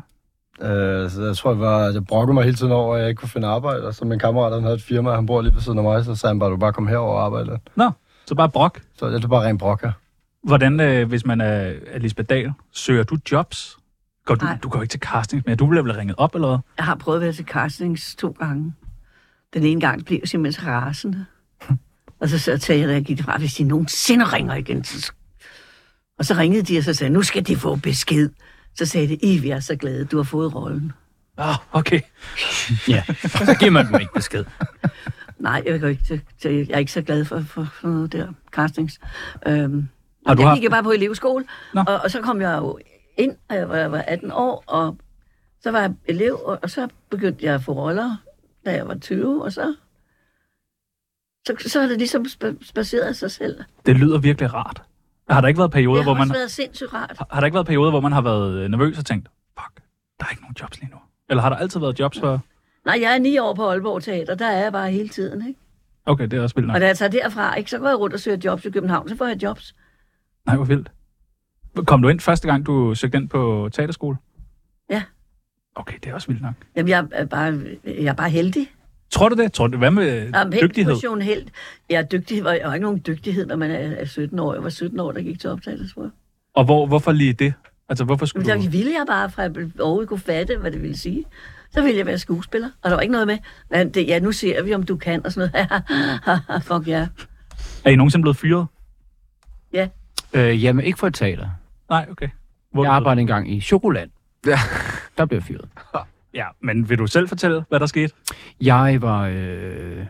Speaker 3: Øh, så jeg tror, jeg, var, jeg brokkede mig hele tiden over, at jeg ikke kunne finde arbejde. Og så min kammerat, han havde et firma, han bor lige ved siden af mig, så sagde han bare, du kan bare kom herover og arbejde.
Speaker 2: Nå, så bare brok.
Speaker 3: Så jeg tog bare ren brok her.
Speaker 2: Hvordan, øh, hvis man er, er Lisbeth Dahl, søger du jobs? Går du,
Speaker 5: Nej.
Speaker 2: du går ikke til casting, men du bliver vel ringet op eller hvad?
Speaker 5: Jeg har prøvet at være til castings to gange. Den ene gang blev jeg simpelthen så rasende. Og så sagde jeg, at jeg gik fra, hvis de nogensinde ringer igen. Så... sk-" Og så ringede de og så sagde, nu skal de få besked. Så sagde de, I vi er så glade, du har fået rollen.
Speaker 2: Ah, okay.
Speaker 4: Ja, så giver man dem ikke besked.
Speaker 5: Nej, jeg, går ikke til, til, jeg er ikke så glad for, for sådan noget der, castings. Øhm,
Speaker 2: Har du
Speaker 5: jeg
Speaker 2: haft-
Speaker 5: gik jo bare på elevskole,
Speaker 2: Nå.
Speaker 5: og, og så kom jeg jo ind, og jeg var, jeg var 18 år, og så var jeg elev, og, og så begyndte jeg at få roller, da jeg var 20, og så... Så, så har det ligesom sp- spaceret sig selv.
Speaker 2: Det lyder virkelig rart. Har der ikke været perioder,
Speaker 5: Det har
Speaker 2: hvor man
Speaker 5: også været sindssygt rart.
Speaker 2: har, har der ikke været perioder, hvor man har været øh, nervøs og tænkt, fuck, der er ikke nogen jobs lige nu? Eller har der altid været jobs for?
Speaker 5: Nej, jeg er ni år på Aalborg Teater, der er jeg bare hele tiden, ikke?
Speaker 2: Okay, det er også vildt nok.
Speaker 5: Og da jeg tager derfra, ikke, så går jeg rundt og søger jobs i København, så får jeg jobs.
Speaker 2: Nej, hvor vildt. Kom du ind første gang, du søgte ind på teaterskole?
Speaker 5: Ja.
Speaker 2: Okay, det er også vildt nok.
Speaker 5: Jamen, jeg er bare, jeg er bare heldig.
Speaker 2: Tror du det? Tror du, hvad med
Speaker 5: Jamen,
Speaker 2: Jamen,
Speaker 5: helt
Speaker 2: dygtighed?
Speaker 5: Motion, helt. Jeg er dygtig, og jeg har ikke nogen dygtighed, når man er er 17 år. Jeg var 17 år, der gik til optagelsesprøve.
Speaker 2: Og hvor, hvorfor lige det? Altså, hvorfor
Speaker 5: Jamen,
Speaker 2: skulle du...
Speaker 5: der ville jeg bare, fra jeg blev- overhovedet kunne fatte, hvad det ville sige. Så ville jeg være skuespiller, og der var ikke noget med, "Nå, det, ja, nu ser vi, om du kan, og sådan noget. Fuck ja.
Speaker 2: Er I nogensinde blevet fyret?
Speaker 4: Øh, jamen, ikke for et teater.
Speaker 2: Nej, okay. Hvor
Speaker 4: Jeg arbejdede engang i Chokoland.
Speaker 1: Ja.
Speaker 4: Der blev jeg fyret.
Speaker 2: Ja, men vil du selv fortælle, hvad der skete?
Speaker 4: Jeg var øh,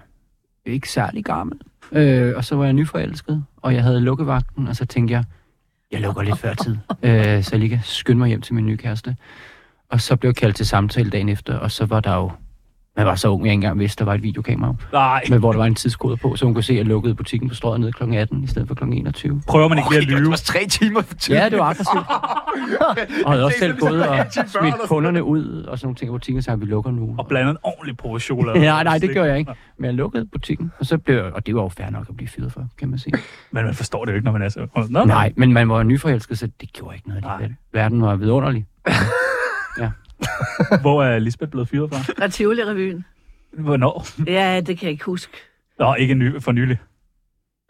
Speaker 4: ikke særlig gammel, øh, og så var jeg nyforelsket, og jeg havde lukkevagten, og så tænkte jeg, jeg lukker lidt før tid, øh, så jeg lige kan skynde mig hjem til min nye kæreste. Og så blev jeg kaldt til samtale dagen efter, og så var der jo, man var så ung, jeg ikke engang vidste, der var et videokamera,
Speaker 2: Nej,
Speaker 4: men hvor der var en tidskode på, så hun kunne se, at jeg lukkede butikken på strøget ned kl. 18 i stedet for kl. 21.
Speaker 2: prøver man ikke lige at lyve?
Speaker 1: var tre timer for tidligt.
Speaker 4: Ja, det var aggressivt. Og havde også
Speaker 1: Det
Speaker 4: selv
Speaker 1: er
Speaker 4: gået og
Speaker 1: ligesom
Speaker 4: smidt kunderne ud, og sådan nogle ting, og butikken sagde, at vi lukker nu.
Speaker 2: Og blandt en ordentlig portion chokolade.
Speaker 4: Ja, nej, det gjorde jeg ikke. Men jeg lukkede butikken, og så blev jeg, og det var jo fair nok at blive fyret for, kan man sige.
Speaker 2: Men man forstår det jo ikke, når man er så... Nå,
Speaker 4: Nej, men man var jo nyforelsket, så det gjorde ikke noget alligevel. Verden var vidunderlig.
Speaker 2: Hvor er Lisbeth blevet fyret fra?
Speaker 5: Og Tivoli-revyen.
Speaker 2: Hvornår?
Speaker 5: Ja, det kan jeg ikke huske.
Speaker 2: Nå, ikke ny, for nylig.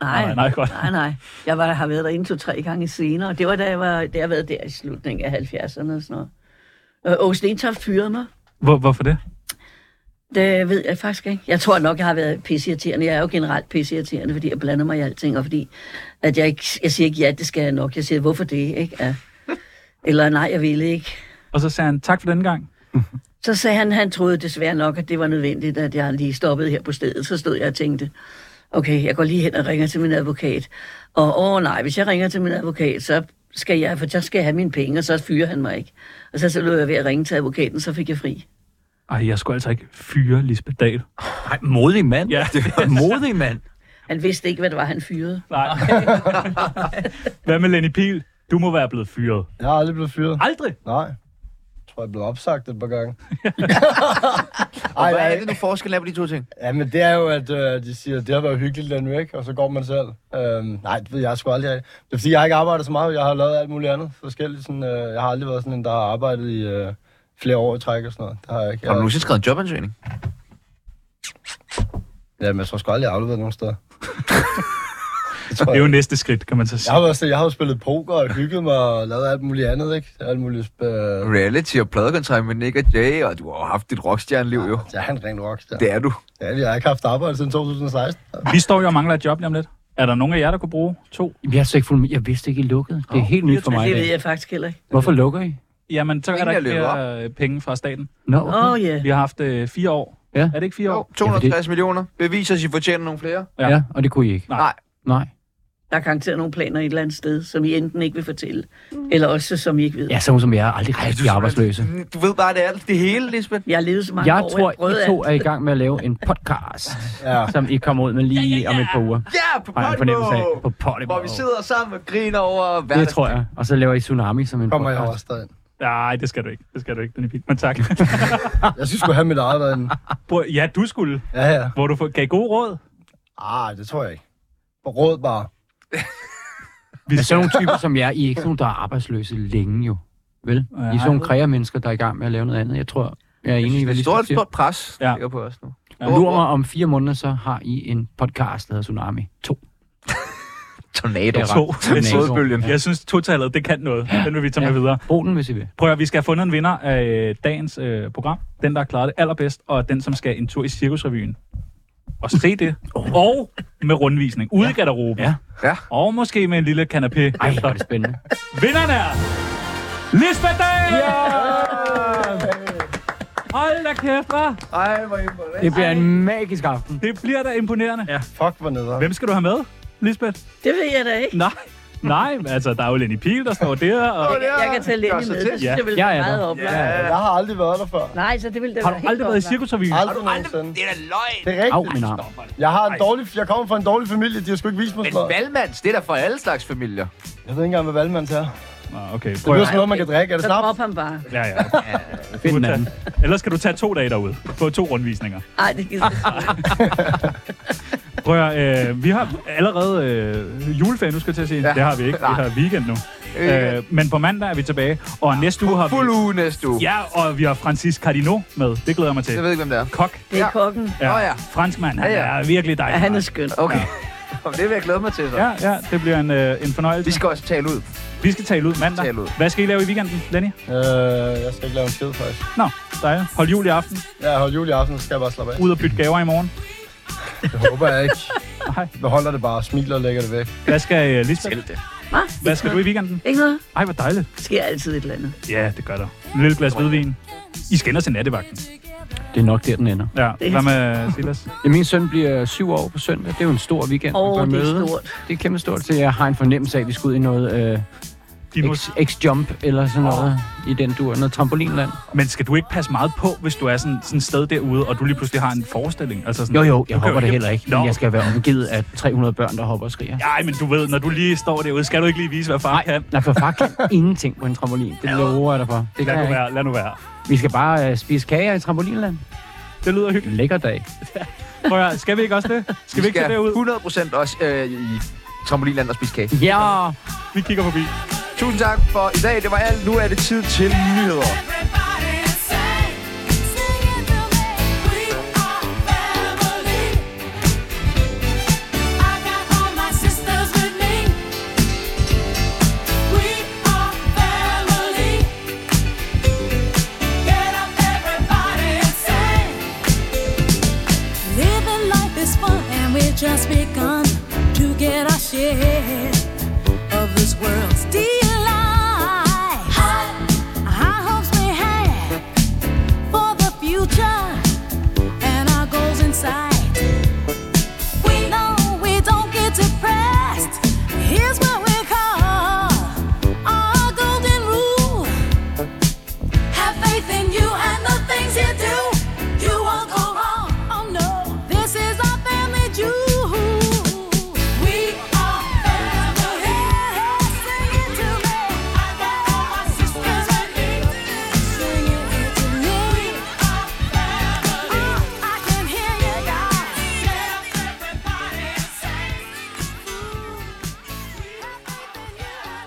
Speaker 5: Nej,
Speaker 2: Nej, nej, godt.
Speaker 5: nej, nej. Jeg var, har været der en, to, tre gange senere. Det var da jeg var, da jeg var der i slutningen af 70'erne og sådan noget. Og Åge Stentoft fyrede mig.
Speaker 2: Hvor, hvorfor det?
Speaker 5: Det ved jeg faktisk ikke. Jeg tror nok, jeg har været pisseirriterende. Jeg er jo generelt pisseirriterende, fordi jeg blander mig i alting, og fordi at jeg, ikke, jeg siger ikke, ja, det skal jeg nok. Jeg siger, hvorfor det, ikke? Ja. Eller nej, jeg ville ikke.
Speaker 2: Og så sagde han, tak for den gang.
Speaker 5: Så sagde han, han troede desværre nok, at det var nødvendigt, at jeg lige stoppede her på stedet. Så stod jeg og tænkte, okay, jeg går lige hen og ringer til min advokat. Og åh nej, hvis jeg ringer til min advokat, så skal jeg, for så skal jeg have mine penge, og så fyrer han mig ikke. Og så, så lå jeg ved at ringe til advokaten, så fik jeg fri.
Speaker 2: Ej, jeg skulle altså ikke fyre Lisbeth Dahl.
Speaker 4: Nej, modig mand.
Speaker 2: Ja, det
Speaker 4: Modig mand.
Speaker 5: Han vidste ikke, hvad det var, han fyrede.
Speaker 2: Nej. Hvad med Lenny Pihl? Du må være blevet fyret.
Speaker 3: Jeg har aldrig blevet fyret.
Speaker 2: Aldrig.
Speaker 3: Nej. Jeg tror, jeg blev opsagt et par gange.
Speaker 1: Og
Speaker 3: Ej,
Speaker 1: hvad er
Speaker 3: nej.
Speaker 1: det nu forskellen er på de to ting?
Speaker 3: Ja, men det er jo, at øh, de siger, det har været hyggeligt den ikke? og så går man selv. Øhm, nej, det ved jeg sgu aldrig. rigtig. Det er fordi, jeg har ikke arbejdet så meget. Jeg har lavet alt muligt andet forskelligt. Sådan, øh, jeg har aldrig været sådan en, der har arbejdet i øh, flere år i træk og sådan noget. Det har jeg ikke.
Speaker 1: Har du
Speaker 3: Jeg,
Speaker 1: nogensinde skrevet en jobansøgning?
Speaker 3: ja, men jeg tror sgu aldrig, jeg har afleveret nogen steder. det tror
Speaker 2: Det er
Speaker 3: jeg.
Speaker 2: jo
Speaker 3: ikke.
Speaker 2: næste skridt, kan man så sige.
Speaker 3: Jeg har, jo også, jeg har jo spillet poker og hygget mig og lavet alt muligt andet, ikke? Alt muligt... sp- Øh,
Speaker 1: Reality og pladekontrakt med Nick og Jay, og du har jo haft dit rockstjerneliv jo.
Speaker 3: jeg er en ren rockstar.
Speaker 1: Det er du.
Speaker 3: Ja, jeg har ikke haft arbejde siden 2016.
Speaker 2: Vi står jo og mangler et job lige om lidt. Er der nogen af jer, der kunne bruge to?
Speaker 4: Jamen, Jeg, er så ikke fuld, jeg vidste ikke, I lukkede. Det er helt nyt for
Speaker 5: Men
Speaker 4: mig. i
Speaker 5: det ved
Speaker 4: dag.
Speaker 5: jeg faktisk heller ikke.
Speaker 4: Hvorfor lukker I?
Speaker 2: Jamen, så er der
Speaker 1: Pengene
Speaker 2: ikke
Speaker 1: løber
Speaker 2: flere øh, penge fra staten.
Speaker 4: Nå,
Speaker 5: Åh, oh,
Speaker 4: okay.
Speaker 5: ja. Yeah.
Speaker 2: Vi har haft øh, fire år.
Speaker 4: Ja.
Speaker 2: Er det ikke fire
Speaker 1: Jo,
Speaker 2: år?
Speaker 1: 260 millioner. Bevis os, I fortjener nogle flere.
Speaker 2: Ja.
Speaker 4: Ja, og det kunne I ikke.
Speaker 2: Nej.
Speaker 1: Nej.
Speaker 4: Nej.
Speaker 5: Der er garanteret nogle planer et eller andet sted, som I enten ikke vil fortælle, eller også som I ikke ved.
Speaker 4: Ja, sådan som jeg er aldrig rigtig arbejdsløse.
Speaker 1: Du ved bare, det er alt det hele, Lisbeth.
Speaker 5: Jeg har levet så mange
Speaker 4: Jeg
Speaker 5: år,
Speaker 4: tror,
Speaker 5: jeg prøvede
Speaker 4: I to er i gang med at lave en podcast,
Speaker 3: Ja.
Speaker 4: som I kommer ud med lige om et par uger.
Speaker 1: Ja, på
Speaker 4: Har jeg en fornemmelse af.
Speaker 1: Podimo!
Speaker 4: På Podimo.
Speaker 1: Hvor vi sidder sammen og griner over
Speaker 4: Det
Speaker 1: hverdags...
Speaker 4: tror jeg. Og så laver I Tsunami som en
Speaker 3: Kommer jeg
Speaker 4: podcast.
Speaker 3: også derind.
Speaker 2: Nej, det skal du ikke. Det skal du ikke, den er fint. Men tak.
Speaker 3: Jeg synes, jeg have mit eget derinde.
Speaker 2: Prøv- ja, du skulle.
Speaker 3: Ja, ja.
Speaker 2: Hvor du får- gav gode råd.
Speaker 3: Ah, det tror jeg ikke. På råd bare.
Speaker 4: Vi er sådan nogle typer som jer. I er ikke sådan nogle, der er arbejdsløse længe jo. Vel? I er sådan nogle kreamermennesker, der er i gang med at lave noget andet. Jeg tror, jeg er enig i, hvad
Speaker 1: Det er
Speaker 4: lige
Speaker 1: et stort,
Speaker 4: siger.
Speaker 1: stort pres, der
Speaker 2: Ja.
Speaker 1: ligger på os nu.
Speaker 4: Lur mig, om fire måneder, så har I en podcast, der hedder Tsunami 2.
Speaker 1: Tornado.
Speaker 4: Ja,
Speaker 2: To.
Speaker 4: Tornado.
Speaker 1: Sodbølgen.
Speaker 2: Jeg synes, totallet, det kan noget. Den vil vi tage med videre.
Speaker 4: Brug den, hvis I vil.
Speaker 2: Prøv at høre, vi skal have fundet en vinder af øh, dagens øh, program. Den, der har klaret det allerbedst, og den, som skal en tur i Cirkusrevyen. Og se det. Og med rundvisning. Ude i garderoben.
Speaker 4: Ja.
Speaker 1: Ja.
Speaker 2: Og måske med en lille kanapé.
Speaker 4: Ej, hvor
Speaker 2: efter.
Speaker 4: er det spændende.
Speaker 2: Vinderen er... Lisbeth Dahl! Hold da kæft, hva'?
Speaker 1: Ej, hvor imponerende.
Speaker 4: Det bliver en magisk aften.
Speaker 2: Det bliver da imponerende. Ja.
Speaker 3: Fuck, hvor nederen.
Speaker 2: Hvem skal du have med, Lisbeth?
Speaker 5: Det ved jeg da ikke.
Speaker 2: Nej. Nej, men altså, der er jo Lenny Pihl, der står der, og
Speaker 5: Jeg, jeg kan tage lidt med. Det synes
Speaker 2: Ja.
Speaker 5: jeg vil
Speaker 4: Ja,
Speaker 5: være
Speaker 4: ja,
Speaker 5: meget
Speaker 4: da.
Speaker 5: oplagt.
Speaker 3: Jeg har aldrig været der før.
Speaker 5: Nej, så det ville da
Speaker 2: har
Speaker 5: være
Speaker 2: du
Speaker 5: helt
Speaker 2: aldrig været i
Speaker 5: oplagt.
Speaker 2: Cirkusrevyen?
Speaker 3: Aldrig nogensinde.
Speaker 1: Det er da løgn.
Speaker 3: Det er rigtigt.
Speaker 4: Au, min arm.
Speaker 3: Jeg, har en dårlig, jeg kommer fra en dårlig familie, de har sgu ikke vist mig
Speaker 1: Men
Speaker 3: sådan noget.
Speaker 1: valgmands, det er da for alle slags familier.
Speaker 3: Jeg ved ikke engang, hvad valgmands er.
Speaker 2: Nå, okay,
Speaker 3: Det
Speaker 2: prøv
Speaker 3: lyder
Speaker 2: at...
Speaker 3: som noget, man kan drikke. Er det
Speaker 5: Så
Speaker 3: snaps?
Speaker 5: drop ham bare.
Speaker 2: Ja, ja.
Speaker 4: Find den anden.
Speaker 2: Ellers skal du tage to dage derude på to rundvisninger.
Speaker 5: Nej, det gider jeg ikke.
Speaker 2: Prøv at, høre, øh, vi har allerede øh, juleferie, nu skal jeg til at sige. Ja. Det har vi ikke. Vi har weekend nu. Øh, men på mandag er vi tilbage, og næste uge har vi...
Speaker 1: Fuld uge næste uge.
Speaker 2: Ja, og vi har Francis Cardino med. Det glæder jeg mig til.
Speaker 1: Jeg ved ikke, hvem det er.
Speaker 2: Kok.
Speaker 5: Det er
Speaker 1: Ja.
Speaker 5: kokken.
Speaker 2: Ja.
Speaker 1: Nå ja.
Speaker 2: Franskmand, han
Speaker 1: Ja, ja.
Speaker 2: er virkelig
Speaker 5: Ja,
Speaker 2: dejlig.
Speaker 5: han er skøn.
Speaker 1: Okay. Jamen, Det vil jeg glæde mig til, så.
Speaker 2: Ja, ja, det bliver en, øh, en fornøjelse.
Speaker 1: Vi skal også tale ud.
Speaker 2: vi skal tale ud mandag.
Speaker 1: Tale ud.
Speaker 2: Hvad skal I lave i weekenden, Lenny?
Speaker 3: Øh, jeg skal ikke lave en skid, faktisk.
Speaker 2: Nå, dejligt. Hold jul i aften.
Speaker 3: Ja, hold jul i aften, så skal jeg bare slappe af.
Speaker 2: Ud og bytte gaver i morgen.
Speaker 3: Det håber jeg ikke.
Speaker 2: Nej.
Speaker 3: Jeg holder det bare, smiler og lægger det væk.
Speaker 2: Hvad skal øh, Lisbeth?
Speaker 5: Hva?
Speaker 2: Hvad skal du i weekenden?
Speaker 5: Ikke noget?
Speaker 2: Ej, hvor dejligt.
Speaker 5: Der sker altid et eller andet.
Speaker 2: Ja, det gør der. En lille glas hvidvin. I skal ind og til nattevagten.
Speaker 4: Det er nok der, den ender.
Speaker 2: Ja,
Speaker 5: Det-
Speaker 2: hvad med Silas?
Speaker 4: Ja, Min søn bliver syv år på søndag. Det er jo en stor weekend.
Speaker 5: Åh,
Speaker 4: man går i
Speaker 5: det er
Speaker 4: møde.
Speaker 5: stort.
Speaker 4: Det er kæmpe stort, så jeg har en fornemmelse af, at vi skal ud i noget øh,
Speaker 2: Dinos.
Speaker 4: X- X-jump eller sådan noget i den dur. Noget trampolinland.
Speaker 2: Men skal du ikke passe meget på, hvis du er sådan sådan et sted derude, og du lige pludselig har en forestilling? Altså sådan,
Speaker 4: Jo, jo, jeg
Speaker 2: Du kan
Speaker 4: hopper det
Speaker 2: ikke-
Speaker 4: heller ikke,
Speaker 2: Nå.
Speaker 4: men jeg skal være omgivet af 300 børn, der hopper og skriger.
Speaker 2: Ej, men du ved, når du lige står derude, skal du ikke lige vise, hvad far kan?
Speaker 4: Nej, for far kan ingenting på en trampolin. Det lover jeg dig for. Det kan
Speaker 2: Lad nu
Speaker 4: jeg ikke.
Speaker 2: være, lad nu være.
Speaker 4: Vi skal bare øh, spise kager i trampolinland.
Speaker 2: Det lyder hyggeligt.
Speaker 4: Lækker dag.
Speaker 2: Prøv at, høre, skal vi ikke også det? Skal vi ikke tage derud?
Speaker 1: 100% også øh, i trampolinland og spise kage.
Speaker 4: Ja! Yeah.
Speaker 2: Vi kigger forbi.
Speaker 1: Tusind tak for i dag. Det var alt. Nu er det tid til nyheder.
Speaker 11: Just begun to get our share of this world's delight. High hopes we have for the future and our goals in sight. We know we don't get depressed. Here's what we call our golden rule: Have faith in you and the things you do. You won't go wrong. Oh no, this is our family jewel. We are family. Sing it to me. I got all my sisters with me. Sing it to me. We are family. Oh, I can hear you guys. everybody sing. Have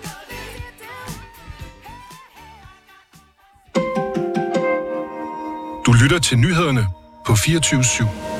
Speaker 11: faith in you and the things you do.
Speaker 8: Du lytter til nyhederne på 24 /7.